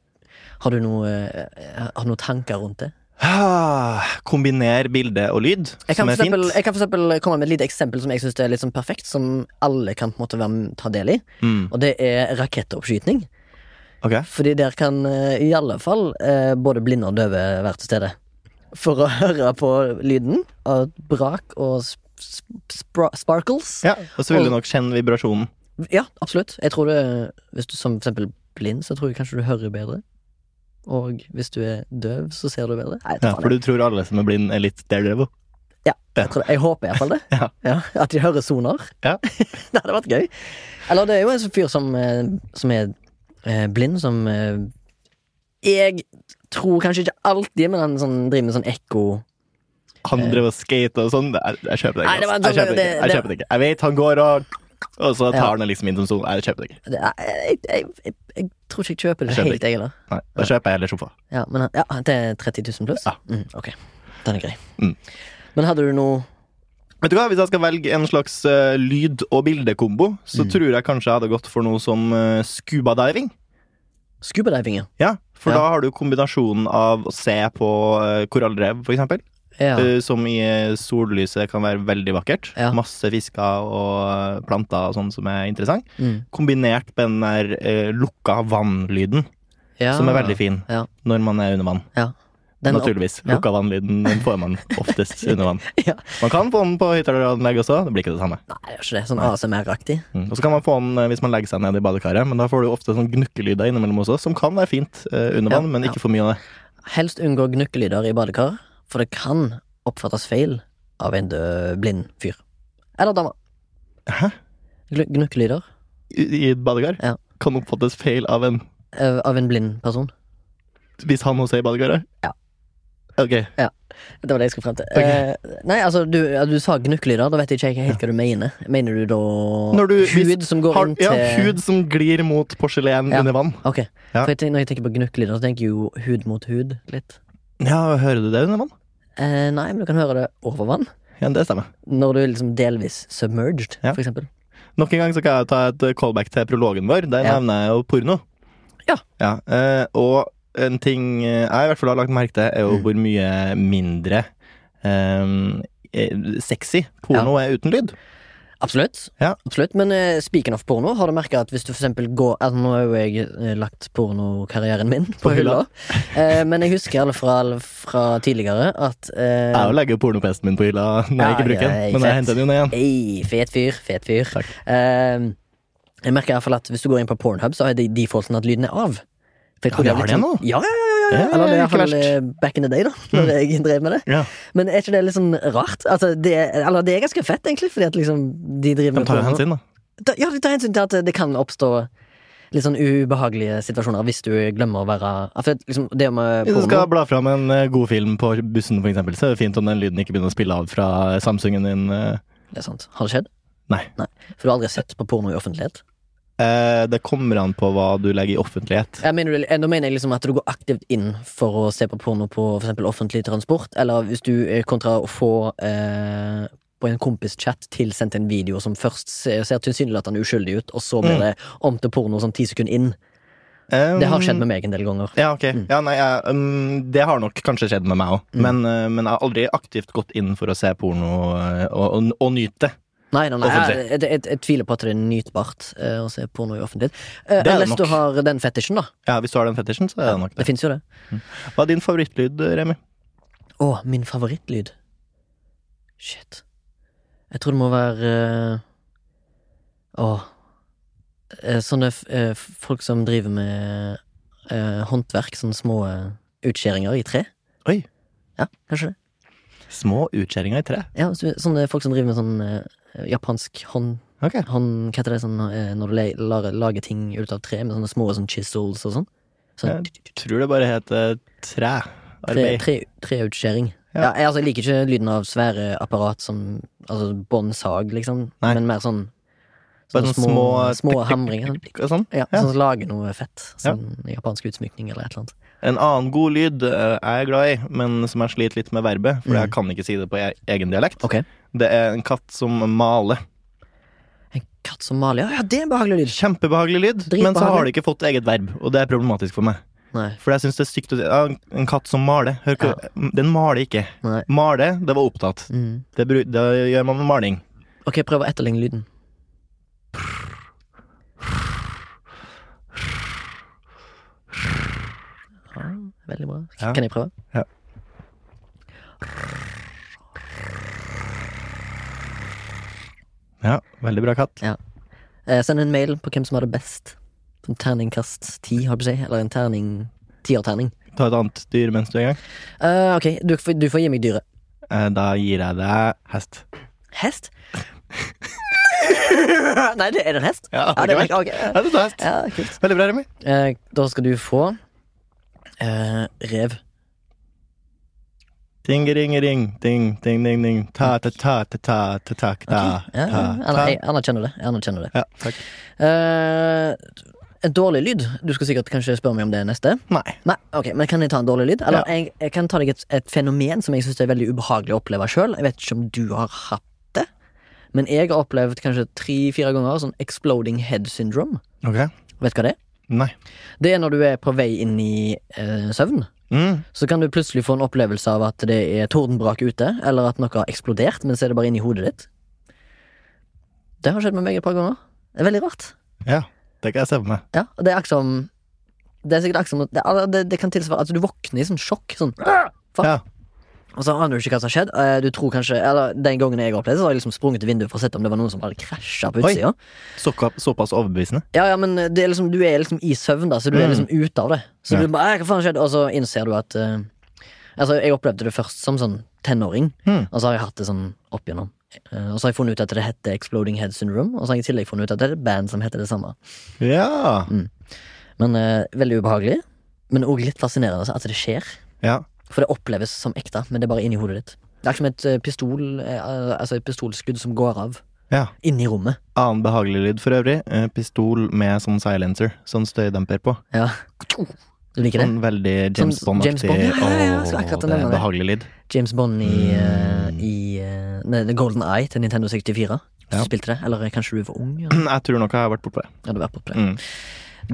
har du noe, eh, har du noen tanker rundt det?
Ah, Kombiner bilde og lyd,
Jeg kan,
som
for
er fint.
eksempel, jeg kan for eksempel komme med et lite eksempel som jeg syns er litt sånn perfekt, som alle kan på en måte være, med- ta del i.
Mm,
Og det er rakettoppskyting.
ok.
Fordi der kan eh, i alle fall eh, både blinde og døve være til stede. For å høre på lyden av brak og sp sp spra- sparkles.
Ja, og så
Og-
vil du nok kjenne vibrasjonen.
Ja, absolutt. Jeg tror det Hvis du som for eksempel blind, så tror jeg kanskje du hører bedre. Og hvis du er døv, så ser du bedre. Nei,
Ja,
faen,
for du tror alle som er blind, er litt daredevil.
Jeg, tror, jeg håper iallfall det.
Ja.
at de hører soner.
Ja.
det hadde vært gøy. Eller det er jo en sånn fyr som, eh, som er eh, blind, som eh, Jeg tror kanskje ikke alltid, men han sånn, driver med sånn ekko
Han drev og skate og sånn. Jeg, jeg kjøper det
Eh.
ikke.
Nei, det var en
ass. jeg,
sånn-
kjøper det,
det-
ikke. jeg
det-
kjøper det ikke. Jeg vet han går og Og så tar
Ja.
han det liksom inn som sånn. Jeg kjøper det ikke.
det, er- jeg, jeg, jeg, jeg tror ikke jeg kjøper det
Jeg kjøper
helt, jeg heller.
Nei, Da kjøper jeg heller sofa.
Ja, men han- ja, det er 30 000 pluss?
Ja.
Mm, ok, den er grei.
Mm.
Men hadde du noe
Vet du hva, Hvis jeg skal velge en slags eh, lyd- og bildekombo, så
Mm.
tror jeg kanskje jeg hadde gått for noe som uh, scubadiving.
scubadiving? ja?
Ja, for
Ja.
da har du kombinasjonen av å se på eh, korallrev, for eksempel,
Ja.
eh, som i eh, sollyset kan være veldig vakkert.
Ja.
Masse fisker og eh, planter og sånn som er interessant.
Mm.
Kombinert med den der eh, lukka vannlyden.
Ja.
som er veldig fin
Ja.
når man er under vann.
Ja. Den-
Naturligvis.
ja.
Lukka vannlyden den får man oftest under vann.
Ja.
Man kan få den på høyttaleranlegg også, det blir ikke det samme.
Nei, det er ikke det. Sånn ASMR-aktig.
Mm. Og så kan man få den eh, hvis man legger seg ned i badekaret, men da får du ofte sånn gnukkelyder innimellom også, som kan være fint eh, under
Ja,
vann, men
ja.
ikke for mye av det.
Helst unngå gnukkelyder i badekar, for det kan oppfattes feil av en død, blind fyr. Eller dame.
Hæ?
Gnu- Gnukkelyder
I, i et badekar
Ja.
kan oppfattes feil av en
eh, av en blind person.
hvis han også er i badekaret.
Ja.
Ok,
Det var det jeg skulle frem til.
Ok.
Eh, nei, altså, du, ja, du sa gnukkelyder. Da vet jeg ikke helt hva du mener. Mener du da
Når du-
hud
hvis-
som går
Har,
inn til
ja, hud som glir mot porselen
Ja.
under vann.
Ok.
Ja.
For jeg tenker, når jeg tenker på gnukkelyder, så tenker jeg jo hud mot hud litt.
Ja, hører du det under vann?
Eh, nei, men du kan høre det over vann.
Ja, det stemmer.
Når du er liksom delvis submerged,
Ja.
for eksempel.
Nok en gang så kan jeg ta et eh, callback til prologen vår. Der
Ja.
nevner jeg jo porno.
Ja.
eh, og en ting eh, jeg i hvert fall har lagt merke til, er jo
Mm.
hvor mye mindre eh, eh, sexy porno er uten lyd.
Absolutt.
Ja.
Absolutt. Men uh, speaking of porno, har du merka at hvis du for eksempel går altså, Nå har jo jeg eh, lagt pornokarrieren min på,
På
hylla,
hylla.
Eh, men jeg husker i alle fall fra tidligere at eh,
Jeg legger jo pornopesten min på hylla når jeg
Ja,
ikke bruker
ja,
den,
ikke
men jeg
sant.
henter den jo ned igjen.
Ei, fet fyr, fet fyr.
Takk.
Eh, jeg merker i hvert fall at hvis du går inn på Pornhub, så har de defaulten at lyden er av. For jeg
Ja,
trodde
de
jeg
har
liksom-
det nå?
Ja, ja, ja, ja, ja.
Det er
Eller det er i
ikke
hvert fall
verst.
eh, back in the day, da. Når jeg drev med det.
Ja.
Men er ikke det litt sånn rart? Altså, det, er- eller det er ganske fett, egentlig, fordi at liksom de driver
De tar jo
porno.
hensyn, da.
Da- Ja, de tar hensyn til at det kan oppstå litt sånn ubehagelige situasjoner hvis du glemmer å være ja, For det- liksom, det med
Hvis du
porno
skal bla fram en eh, god film på bussen, for eksempel, så er det fint om den lyden ikke begynner å spille av fra Samsungen din. eh.
Det er sant. Har det skjedd?
Nei.
For du har aldri sett på porno i offentlighet?
Eh, det kommer an på hva du legger i offentlighet.
Jeg mener, du- eh, nå mener jeg liksom at du går aktivt inn for å se på porno på for eksempel offentlig transport, eller hvis du eh, kontra å få eh, på en kompischat tilsendt en video som først ser, ser tilsynelatende uskyldig ut, og så blir
Mm.
det om til porno sånn ti sekunder inn. Det har
Mm.
skjedd med meg en del ganger.
Um, Ja, ok.
Mm.
Ja, nei, jeg, mm, det har nok kanskje skjedd med meg òg.
Mm.
Men, eh, men jeg har aldri aktivt gått inn for å se porno eh, og, og, og nyte det.
Nei, nei, nei jeg,
Offentlig.
jeg, jeg, jeg tviler på at det er nytbart eh, å se porno i offentlighet. Eh,
Det er det
unless
nok.
du har den fetisjen, da.
Ja, Hvis du har den fetisjen, så er det nok
Det
det.
fins jo det.
Hva er din favorittlyd, Remi?
Å, min favorittlyd. Shit. Jeg tror det må være eh, Å eh, Sånne f- eh, folk som driver med eh, håndverk, sånne små eh, utskjæringer i tre.
Oi.
Ja, kanskje det.
Små utskjæringer i tre.
Ja, så- sånne folk som driver med sånn eh, japansk hånd...
Ok.
hånd hva heter det sånn eh, når du le, lar, lager ting ut av tre, med sånne små sånn chisels og sånn? Sånn
Tror det bare heter
Tre-
træarbeid.
tre- Treutskjæring.
Ja.
Ja. jeg, altså, jeg liker ikke lyden av svære apparat som altså, båndsag, liksom,
Nei.
men mer sånn
Bare
sånne
sånn
små,
små-
små hamringer.
Og Sånn.
Ja,
Ja.
Sånn som lager noe fett. Sånn japansk utsmykning eller et eller annet.
En annen god lyd eh, jeg er glad i, men som jeg sliter litt med verbet, for
Mm.
jeg kan ikke si det på e- egen dialekt,
Ok.
det er en katt som maler.
En katt som maler. Ja, ja, det er en behagelig lyd.
Kjempebehagelig lyd, men så har
Dritbehagelig.
det ikke fått eget verb, og det er problematisk for meg.
Nei.
For jeg syns det er stygt å si ja, En katt som maler. Hør, ikke- Den maler ikke.
Nei.
Male, det var opptatt.
Mm.
Det, bru- det gjør man med maling.
Ok, prøv å etterligne lyden. Ja, veldig bra.
Ja.
Kan jeg prøve?
Ja. Ja, veldig bra katt.
Eh, send en mail på hvem som har det best. Sånn terningkast ti, holdt på å si. Eller en terning tierterning.
Ta et annet dyr mens du er i gang.
Eh, ok, du, får- du får gi meg dyret.
Eh, Da gir jeg deg hest.
Hest? Nei, det, er det en hest?
Ja,
Ja, det
ikke
var
verst.
ikke ok.
Ja, du tar hest.
Ja, kult.
Veldig bra, Remi.
Eh, da skal du få eh, rev.
Ting-ring-ring, ting-ting-ting-ting, ta-ta-ta-ta-ta-ta-ta.
Ok, ja, ja, aner- jeg anerkjenner det. Jeg anerkjenner det.
Ja, takk.
Eh, en dårlig lyd. Du skal sikkert kanskje spørre meg om det neste.
Nei.
Nei, ok, men Kan jeg ta en dårlig lyd? Eller
Ja.
jeg, jeg kan ta deg et, et fenomen som jeg syns er veldig ubehagelig å oppleve sjøl. Jeg vet ikke om du har hatt det, men jeg har opplevd kanskje tre-fire ganger sånn exploding head syndrome.
Ok.
Vet du hva det er?
Nei.
Det er når du er på vei inn i eh, søvn.
Mm.
Så kan du plutselig få en opplevelse av at det er tordenbrak ute, eller at noe har eksplodert, men så er det bare inni hodet ditt. Det har skjedd med meg et par ganger. Det er veldig rart.
Ja, det kan jeg se på meg.
Ja, og det er akkurat som Det er sikkert akkurat som at- det, altså, det, det kan tilsvare Altså, du våkner i sånn sjokk. Sånn, fuck.
Ja.
Og så aner du ikke hva som har skjedd. Eh, Du tror kanskje, eller Den gangen jeg opplevde det, så har jeg liksom sprunget til vinduet for å se om det var noen som hadde krasja på
Oi.
utsida.
Såka- Såpass overbevisende.
Ja, ja, men det er liksom, du er liksom i søvn, da, så du er
Mm.
liksom ute av det. Så
Ja.
du bare, «Eh, hva faen skjedde? Og så innser du at eh, Altså, jeg opplevde det først som sånn tenåring,
Mm.
og så har jeg hatt det sånn opp igjennom. Eh, og så har jeg funnet ut at det heter Exploding Head Syndrome, og så har jeg i tillegg funnet ut at det er et band som heter det samme.
Ja.
Men eh, veldig ubehagelig, men òg litt fascinerende altså, at det skjer.
ja.
For det oppleves som ekte, men det er bare inni hodet ditt. Det er som et eh, pistol eh, Altså et pistolskudd som går av
Ja.
inni rommet.
Annen behagelig lyd for øvrig. Eh, Pistol med sånn silencer. Sånn støydemper på.
Ja. Du liker det?
Sånn veldig James
Som James
Bond-aktig.
Bond. Ja, ja, ja,
Åh,
jeg skulle akkurat
det er
nevne
en
det.
behagelig lyd.
James Bond i, eh, i eh, nei, The Golden Eye til Nintendo 64. Hvis
Ja.
du spilte det, Eller eh, kanskje du var ung? Ja.
Jeg tror nok jeg har vært bortpå det.
Hadde vært på play.
Mm.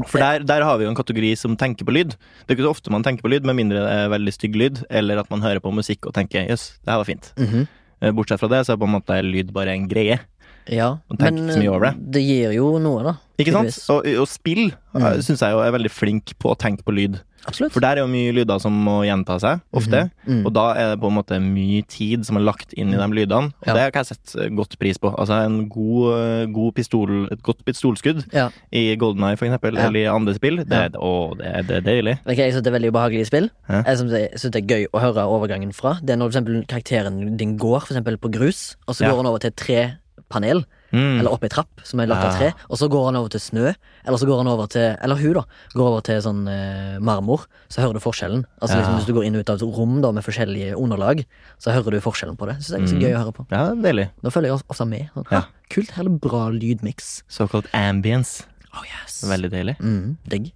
For der, der har vi jo en kategori som tenker på lyd. Det er ikke så ofte man tenker på lyd, med mindre det er veldig stygg lyd, eller at man hører på musikk og tenker 'jøss, det her var fint'.
Mhm.
Eh, Bortsett fra det, så er på en måte lyd bare en greie.
Ja,
Og tenker
men
ikke så mye over
eh, det gir jo noe, da.
Ikke sant?
tydeligvis.
Og, og spill
Mm.
syns jeg jo er veldig flink på å tenke på lyd.
Absolutt.
For der er jo mye lyder som må gjenta seg, ofte.
Mhm. Mm.
Og da er det på en måte mye tid som er lagt inn i de lydene, og
Ja.
det kan jeg sette godt pris på. Altså en god, eh, god pistol, et godt pistolskudd
Ja.
i Golden Eye, for eksempel,
Ja.
eller i andre spill, det,
Ja.
å, det, er- det er deilig.
Vet du hva jeg syns det er veldig ubehagelig i spill.
Hæ?
Jeg syns det, jeg synes det er gøy å høre overgangen fra. Det er når for eksempel, karakteren din går for eksempel, på grus, og så
Ja.
går han over til et trepanel,
Mm. Ah.
eller opp ei trapp som er lagt av
Ja.
tre, og så går han over til snø, eller så går han over til Eller hun, da. Går over til sånn eh, marmor, så hører du forskjellen. Altså liksom
Ja.
Hvis du går inn og ut av et rom da med forskjellige underlag, så hører du forskjellen på det. Så det er ganske
Mm.
gøy å høre på.
Ja, det er deilig.
Da følger jeg of- ofte med. Sånn,
Ja.
«Hæ, Kult, her er det bra lydmiks.
Såkalt ambience.
Oh yes
Veldig deilig.
Mm, digg.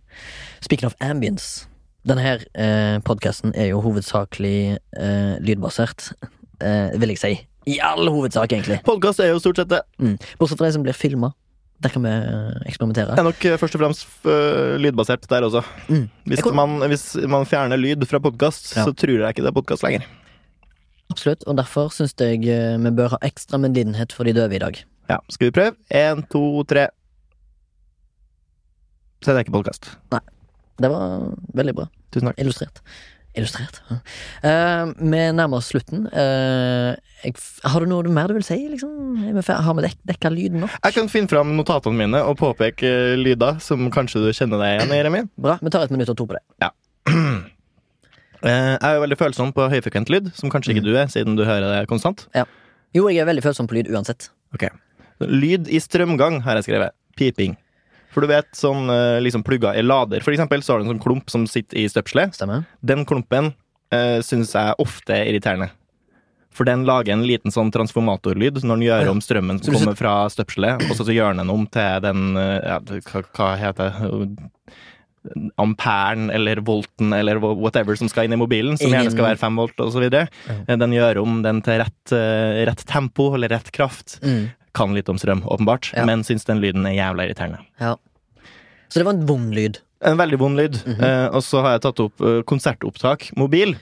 Speaking of ambience. Denne her eh, podkasten er jo hovedsakelig eh, lydbasert, eh, vil jeg si. I all hovedsak, egentlig.
Podkast er jo stort sett det.
Mm. Bortsett fra det som blir filma. Der kan vi eh, eksperimentere.
Det er nok eh, først og fremst eh, lydbasert der også.
Mm.
Hvis,
Jeg kom-
man, hvis man fjerner lyd fra podkast,
Ja.
så tror jeg ikke det er podkast lenger.
Absolutt, og derfor syns jeg eh, vi bør ha ekstra medlidenhet for de døve i dag.
Ja, skal vi prøve? En, to, tre. Så det er ikke podkast.
Det var veldig bra.
Tusen takk.
Illustrert. Illustrert. ja. Eh, vi nærmer oss slutten. Eh, jeg, f- har du noe mer du vil si? Liksom? Er vi fer- Har vi dek dekka lyden nok?
Jeg kan finne fram notatene mine og påpeke eh, lyder som kanskje du kjenner deg igjen i, Remi.
Bra. Vi tar et minutt og to på det.
Eh, Jeg er jo veldig følsom på høyfrekvent lyd, som kanskje ikke du er, siden du hører det konstant.
Jo, jeg er veldig følsom på lyd uansett.
Lyd i strømgang har jeg skrevet. Piping. For du vet sånn eh, liksom plugger i lader, for eksempel, så har du en sånn klump som sitter i støpselet.
Stemmer?
Den klumpen uh, syns jeg ofte er irriterende. For den lager en liten sånn transformatorlyd når den
Å,
gjør
ja.
om strømmen
Så
som
du
kommer fra støpselet, og så så gjør den om til den eh, ja, det- hva, hva heter det Amperen eller volten eller wha- whatever som skal inn i mobilen, som
Ingen-
gjerne skal være fem volt osv. videre
Ja.
Eh, Den gjør om den til rett, eh, rett tempo eller rett kraft.
Mm.
Kan litt om strøm, åpenbart,
Ja.
men syns den lyden er jævla irriterende.
Ja. Så det var en vond lyd.
En veldig vond lyd.
Mhm.
Eh, og så har jeg tatt opp eh, konsertopptak, mobil.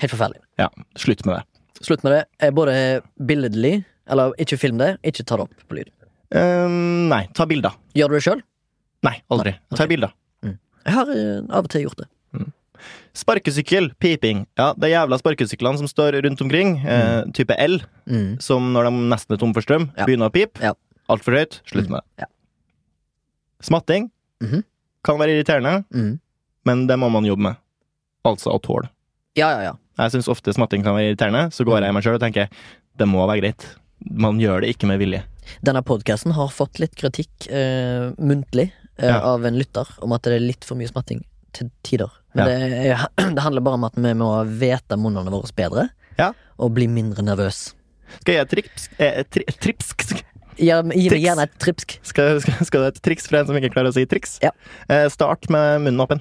Helt forferdelig.
Ja, slutt med det.
Slutt med det. Eh, Både billedlig Eller ikke film det, ikke ta det opp på lyd.
Eh, nei, ta bilder.
Gjør du det sjøl?
Nei, aldri.
Nei,
Ta
ok.
bilder.
Jeg har eh, av og til gjort det.
Sparkesykkel, piping. Ja, det er jævla sparkesyklene som står rundt omkring. Eh, type L,
Mm.
som når de nesten er tom for strøm,
Ja.
begynner å pipe.
Ja.
Altfor høyt. Slutt
Mm.
med det.
Ja.
Smatting
Mhm.
kan være irriterende,
Mm.
men det må man jobbe med. Altså å tåle.
Ja, ja, ja.
Jeg syns ofte smatting kan være irriterende, så
Mm.
går jeg i meg sjøl og tenker det må være greit. Man gjør det ikke med vilje.
Denne podkasten har fått litt kritikk eh, muntlig eh,
Ja.
av en lytter om at det er litt for mye smatting til tider. Men
Ja.
det, er, det handler bare om at vi må vite munnene våre bedre
Ja.
og bli mindre nervøs.
Skal jeg gi et trips? Eh, tri, tripsk?
Gi, gi meg
Triks.
gjerne et tripsk.
Skal, skal, skal det et triks for en som ikke klarer å si triks?
Ja.
Eh, start med munnen åpen.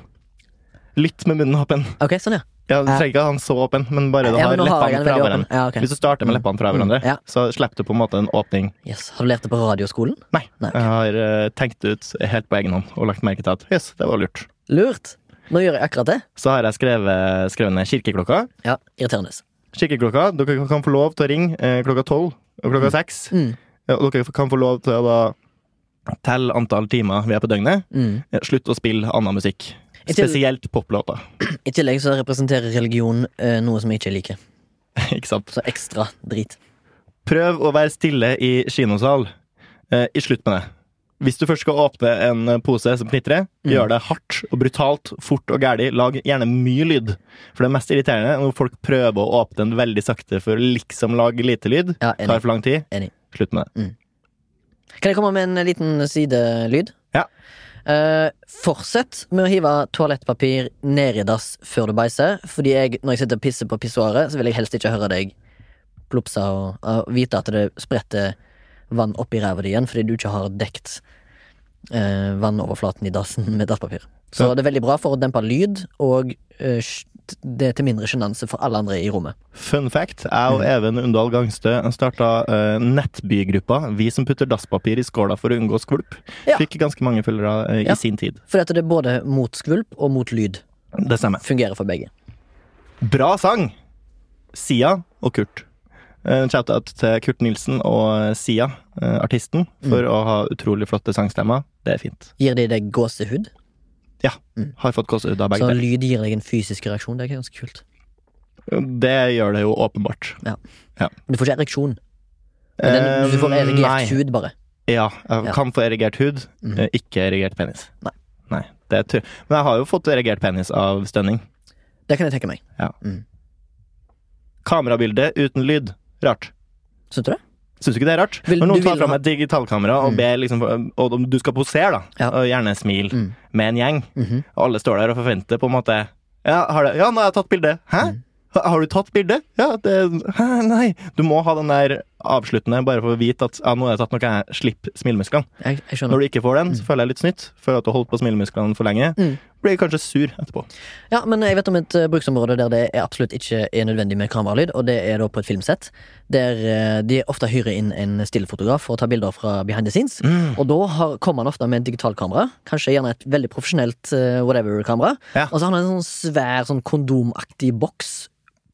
Lytt med munnen åpen.
Ok, sånn, ja.
Ja, du
Ja.
trenger ikke ha den så åpen, men bare du
ja
har
men nå har jeg den
leppene fra
veldig åpen.
hverandre.
Ja, ok.
Hvis du starter med leppene fra
Mm,
hverandre,
ja.
så slipper du på en måte en åpning.
yes. Har du lært det på radioskolen?
Nei.
Nei, ok.
Jeg har eh, tenkt det ut helt på egen hånd og lagt merke til at yes, det var lurt.
Lurt. Nå gjør jeg akkurat det.
Så har jeg skrevet, skrevet ned kirkeklokka.
Ja, Irriterende.
Kirkeklokka, Dere kan få lov til å ringe eh, klokka tolv og klokka seks.
Mm.
Ja, og dere kan få lov til å da telle antall timer vi er på døgnet.
Mm.
Eh, Slutt å spille annen musikk.
I til-
Spesielt poplåter.
I tillegg så representerer religion eh, noe som jeg ikke liker.
Ikke sant?
Så ekstra drit.
Prøv å være stille i kinosal. Eh, I slutt med det. Hvis du først skal åpne en eh, pose som knitrer,
Mm.
gjør det hardt og brutalt, fort og gæli. Lag gjerne mye lyd. For det er mest irriterende er når folk prøver å åpne den veldig sakte for å liksom lage lite lyd.
Ja,
Tar
enig.
for lang tid.
Enig.
Slutt med det.
Kan jeg komme med en liten sidelyd?
Ja.
Eh, fortsett med å hive toalettpapir ned i dass før du bæsjer. Fordi jeg, når jeg sitter og pisser på pissoaret, så vil jeg helst ikke høre deg plopsa og, og vite at det spretter vann opp i ræva di igjen fordi du ikke har dekt eh, vannoverflaten i dassen med dasspapir. Så det er veldig bra for å dempe lyd, og eh, sj- det er til mindre sjenanse for alle andre i rommet.
Fun fact. Jeg og
Mm.
Even Undal Gangstø starta eh, Nettbygruppa Vi som putter dasspapir i skåla for å unngå skvulp.
Ja.
Fikk ganske mange følgere eh,
Ja.
i sin tid.
Fordi at det er både mot skvulp og mot lyd.
Det stemmer.
Fungerer for begge.
Bra sang! Sia og Kurt. En shout-out til Kurt Nilsen og Sia, eh, artisten, for
Mm.
å ha utrolig flotte sangstemmer. Det er fint.
Gir de deg gåsehud?
Har fått gåsehud av begge
Så
deler.
lyd gir deg en fysisk reaksjon. Det er ganske kult.
Det gjør det jo åpenbart.
Men du får ikke ereksjon. Men den, du får
Eh,
erigert
nei.
hud, bare.
Ja, jeg
Ja.
kan få erigert hud,
Mhm.
eh, ikke erigert penis.
Nei.
Nei, det er tur. Men jeg har jo fått erigert penis av stønning.
Det kan jeg tenke meg.
Kamerabilde uten lyd. Rart.
Syns du det?
Syns du ikke det er rart?
Vil-
Når
du
noen tar
vil
fram
ha-
et digitalkamera og
Mm.
ber liksom, og om du skal posere, da,
Ja.
og gjerne smil
Mm.
med en gjeng,
Mhm.
Og alle står der og forventer på en måte Ja, har det, ja nå har jeg tatt bilde. Hæ?
Mm.
Ha- Har du tatt bilde? Ja, det Hæ, nei. Du må ha den der avsluttende bare for å vite at ja, nå har jeg tatt noe, jeg slipper smilemusklene.
Jeg, jeg skjønner.
Når du ikke får den, så føler jeg litt snytt. Føler at du har holdt på smilemusklene for lenge.
Mm.
Blir kanskje sur etterpå.
Ja, men jeg vet om et eh, bruksområde der det er absolutt ikke er nødvendig med kameralyd, og det er da på et filmsett, der eh, de ofte hyrer inn en stillefotograf for å ta bilder fra behind the scenes.
Mm.
Og da har, kommer han ofte med en digitalkamera, kanskje gjerne et veldig profesjonelt eh, whatever-kamera.
Ja.
Og så har han en sånn svær sånn kondomaktig boks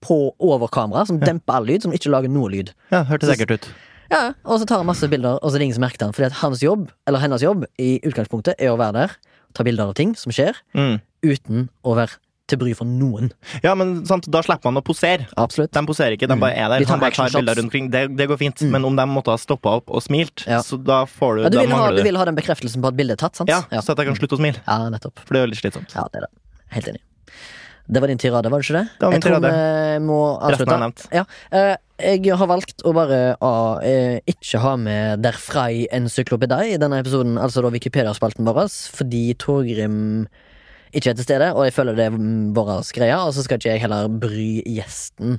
på over kamera, som demper all lyd, som ikke lager noe lyd.
Ja, hørtes
Så-
sikkert ut.
Ja, og så tar han masse bilder, og så er det ingen som merker han. Fordi at hans jobb, eller hennes jobb, i utgangspunktet er å være der, ta bilder av ting som skjer,
Mm.
uten å være til bry for noen.
Ja, men sant, da slipper man å posere.
Absolutt.
De poserer ikke, de bare er der.
Mm. De tar
Han bare tar
action
bilder
shots. Mm.
rundt omkring. Det, det går fint. Men om de måtte ha stoppa opp og smilt,
Ja.
så da får du,
Ja, du,
da
vil ha, du
mangler du.
vil ha den bekreftelsen på at bildet er tatt, sant?
Ja,
ja.
Så at jeg kan slutte å smile.
Ja, nettopp.
For det er jo litt slitsomt.
Ja, det er det. Helt enig. Det var din tirade, var det ikke det?
Det var min
jeg tror
tirade.
vi må
Resten
avslutte.
har jeg nevnt.
Ja. eh, Jeg har valgt å bare ah, eh, ikke ha med derfra i encyklopedi i denne episoden, altså da Wikipedia-spalten vår, fordi Torgrim ikke er til stede, og jeg føler det er mm, vår greie, og så skal ikke jeg heller bry gjesten,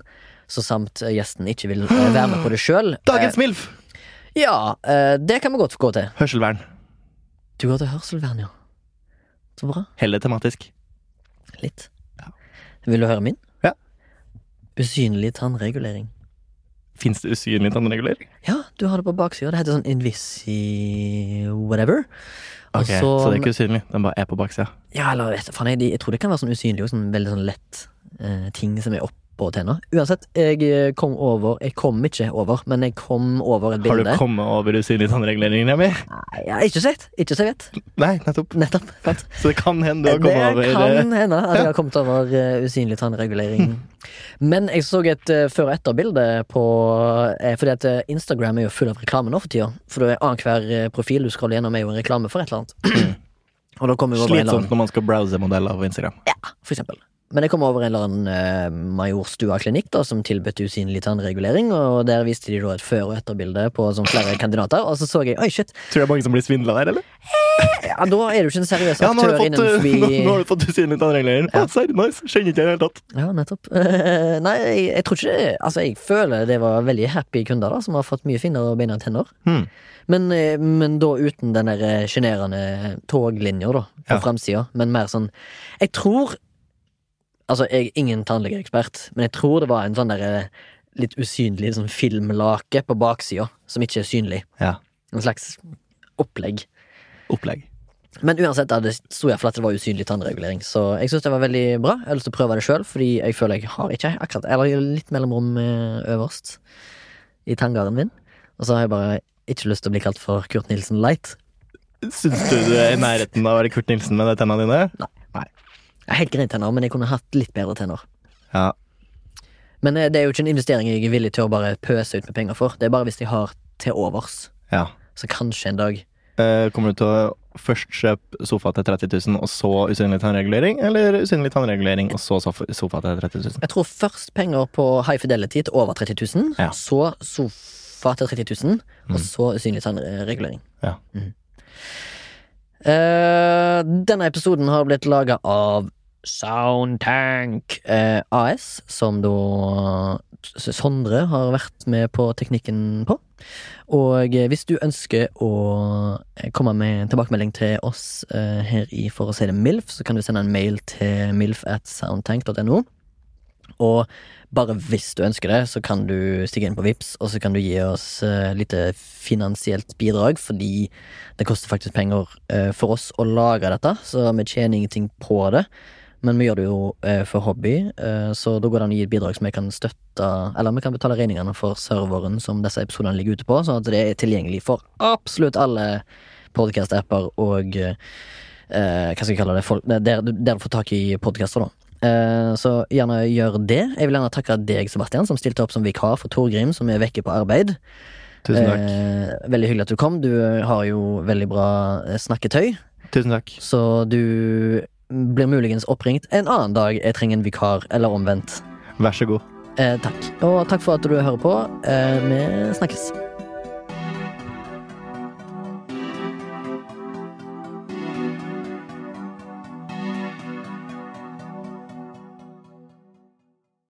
så samt eh, gjesten ikke vil eh, være med på det sjøl.
Dagens MILF!
Ja, eh, det kan vi godt gå til.
Hørselvern.
Du går til hørselvern, ja. Så bra.
Heller tematisk.
Litt. Vil du høre min?
Ja.
Usynlig tannregulering.
Fins det usynlig tannregulering?
Ja, du har det på baksida. Det heter sånn Invisi whatever. Og
Ok, så, det er ikke usynlig. Den bare er på baksida.
Ja, eller vet du, faen, jeg, jeg tror det kan være sånn usynlig og sånn veldig sånn lett eh, ting som er oppå tenna. Uansett, jeg eh, kom over Jeg kom ikke over, men jeg kom over et
Har du
bilde.
kommet over usynlig tannregulering, Remi?
Nei, ja, ikke sett! Ikke så jeg vet.
Nei, nettopp.
Nettopp. Sant?
Så det kan hende du
Det
har kommet over eh,
kan hende at jeg har kommet over eh, usynlig tannregulering. Men jeg så et eh, før- og etterbilde på eh, Fordi at eh, Instagram er jo full av reklame nå for tida. For det er annenhver eh, profil du scroller gjennom, er jo en reklame for et eller annet. Og da kommer jeg over en eller
Slitsomt
annen,
når man skal browse modeller på Instagram.
for eksempel. Men jeg kom over en eller annen eh, Majorstua klinikk da, som tilbød usynlig tannregulering. Og der viste de da et før- og etterbilde på sånn flere kandidater. Og så så jeg Oi, shit!
Tror det er mange som blir svindla der, eller?
Ja, da er du ikke en seriøs
Ja, nå har
aktør
du fått, eh, nå, nå
innenfor
har du fått usynlig tannregulering. Ja. Serr, nice. Kjenner ikke i det hele tatt.
Ja, nettopp. Eh, nei, jeg, jeg tror ikke det. Altså, jeg føler det var veldig happy kunder da, som har fått mye finere bein og tenner.
Hmm.
Men, eh, men da uten den der eh, sjenerende toglinja da, på
Ja.
fremsida. Men mer sånn Jeg tror Altså, jeg er ingen tannlegeekspert, men jeg tror det var en sånn der litt usynlig sånn filmlake på baksida, som ikke er synlig.
Ja.
En slags opplegg.
Opplegg.
Men uansett, da, det sto iallfall at det var usynlig tannregulering. Så jeg syns det var veldig bra. Jeg har lyst til å prøve det sjøl, fordi jeg føler jeg har ikke akkurat Eller jeg har litt mellomrom eh, øverst i tanngarden min. Og så har jeg bare ikke lyst til å bli kalt for Kurt Nilsen Light.
Syns du du er i nærheten av å være Kurt Nilsen med de tennene dine?
Nei. Jeg har helt greie tenner, men jeg kunne hatt litt bedre tenner.
Ja.
Men eh, det er jo ikke en investering jeg er villig til å bare pøse ut med penger for. Det er bare hvis jeg har til overs.
Ja.
Så kanskje en dag.
Eh, kommer du til å først kjøpe sofa til 30 000, og så usynlig tannregulering? Eller usynlig tannregulering, og så sofa sofa til 30 000?
Jeg tror først penger på High Fidelity til over 30 000.
Ja.
Så sofa til 30 000,
Mm.
og så usynlig tannregulering.
Ja.
Mm. Eh, denne episoden har blitt laga av Soundtank eh, AS, som da Sondre har vært med på teknikken på. Og eh, hvis du ønsker å eh, komme med en tilbakemelding til oss eh, her i For å si det MILF, så kan du sende en mail til milf at soundtank.no. Og bare hvis du ønsker det, så kan du stikke inn på Vips og så kan du gi oss eh, lite finansielt bidrag, fordi det koster faktisk penger eh, for oss å lage dette, så vi tjener ingenting på det. Men vi gjør det jo eh, for hobby, eh, så da går det an å gi et bidrag som vi kan støtte Eller vi kan betale regningene for serveren som disse episodene ligger ute på, sånn at det er tilgjengelig for absolutt alle podkast-apper og eh, eh, Hva skal jeg kalle det? Folk, der, der du får tak i podkaster, da. Eh, Så gjerne gjør det. Jeg vil gjerne takke deg, Sebastian, som stilte opp som vikar for Torgrim, som er vekke på arbeid.
Tusen takk.
Eh, veldig hyggelig at du kom. Du eh, har jo veldig bra eh, snakketøy,
Tusen takk.
så du blir muligens oppringt en annen dag jeg trenger en vikar, eller omvendt.
Vær så god.
Eh, takk. Og takk for at du hører på. Eh, vi snakkes.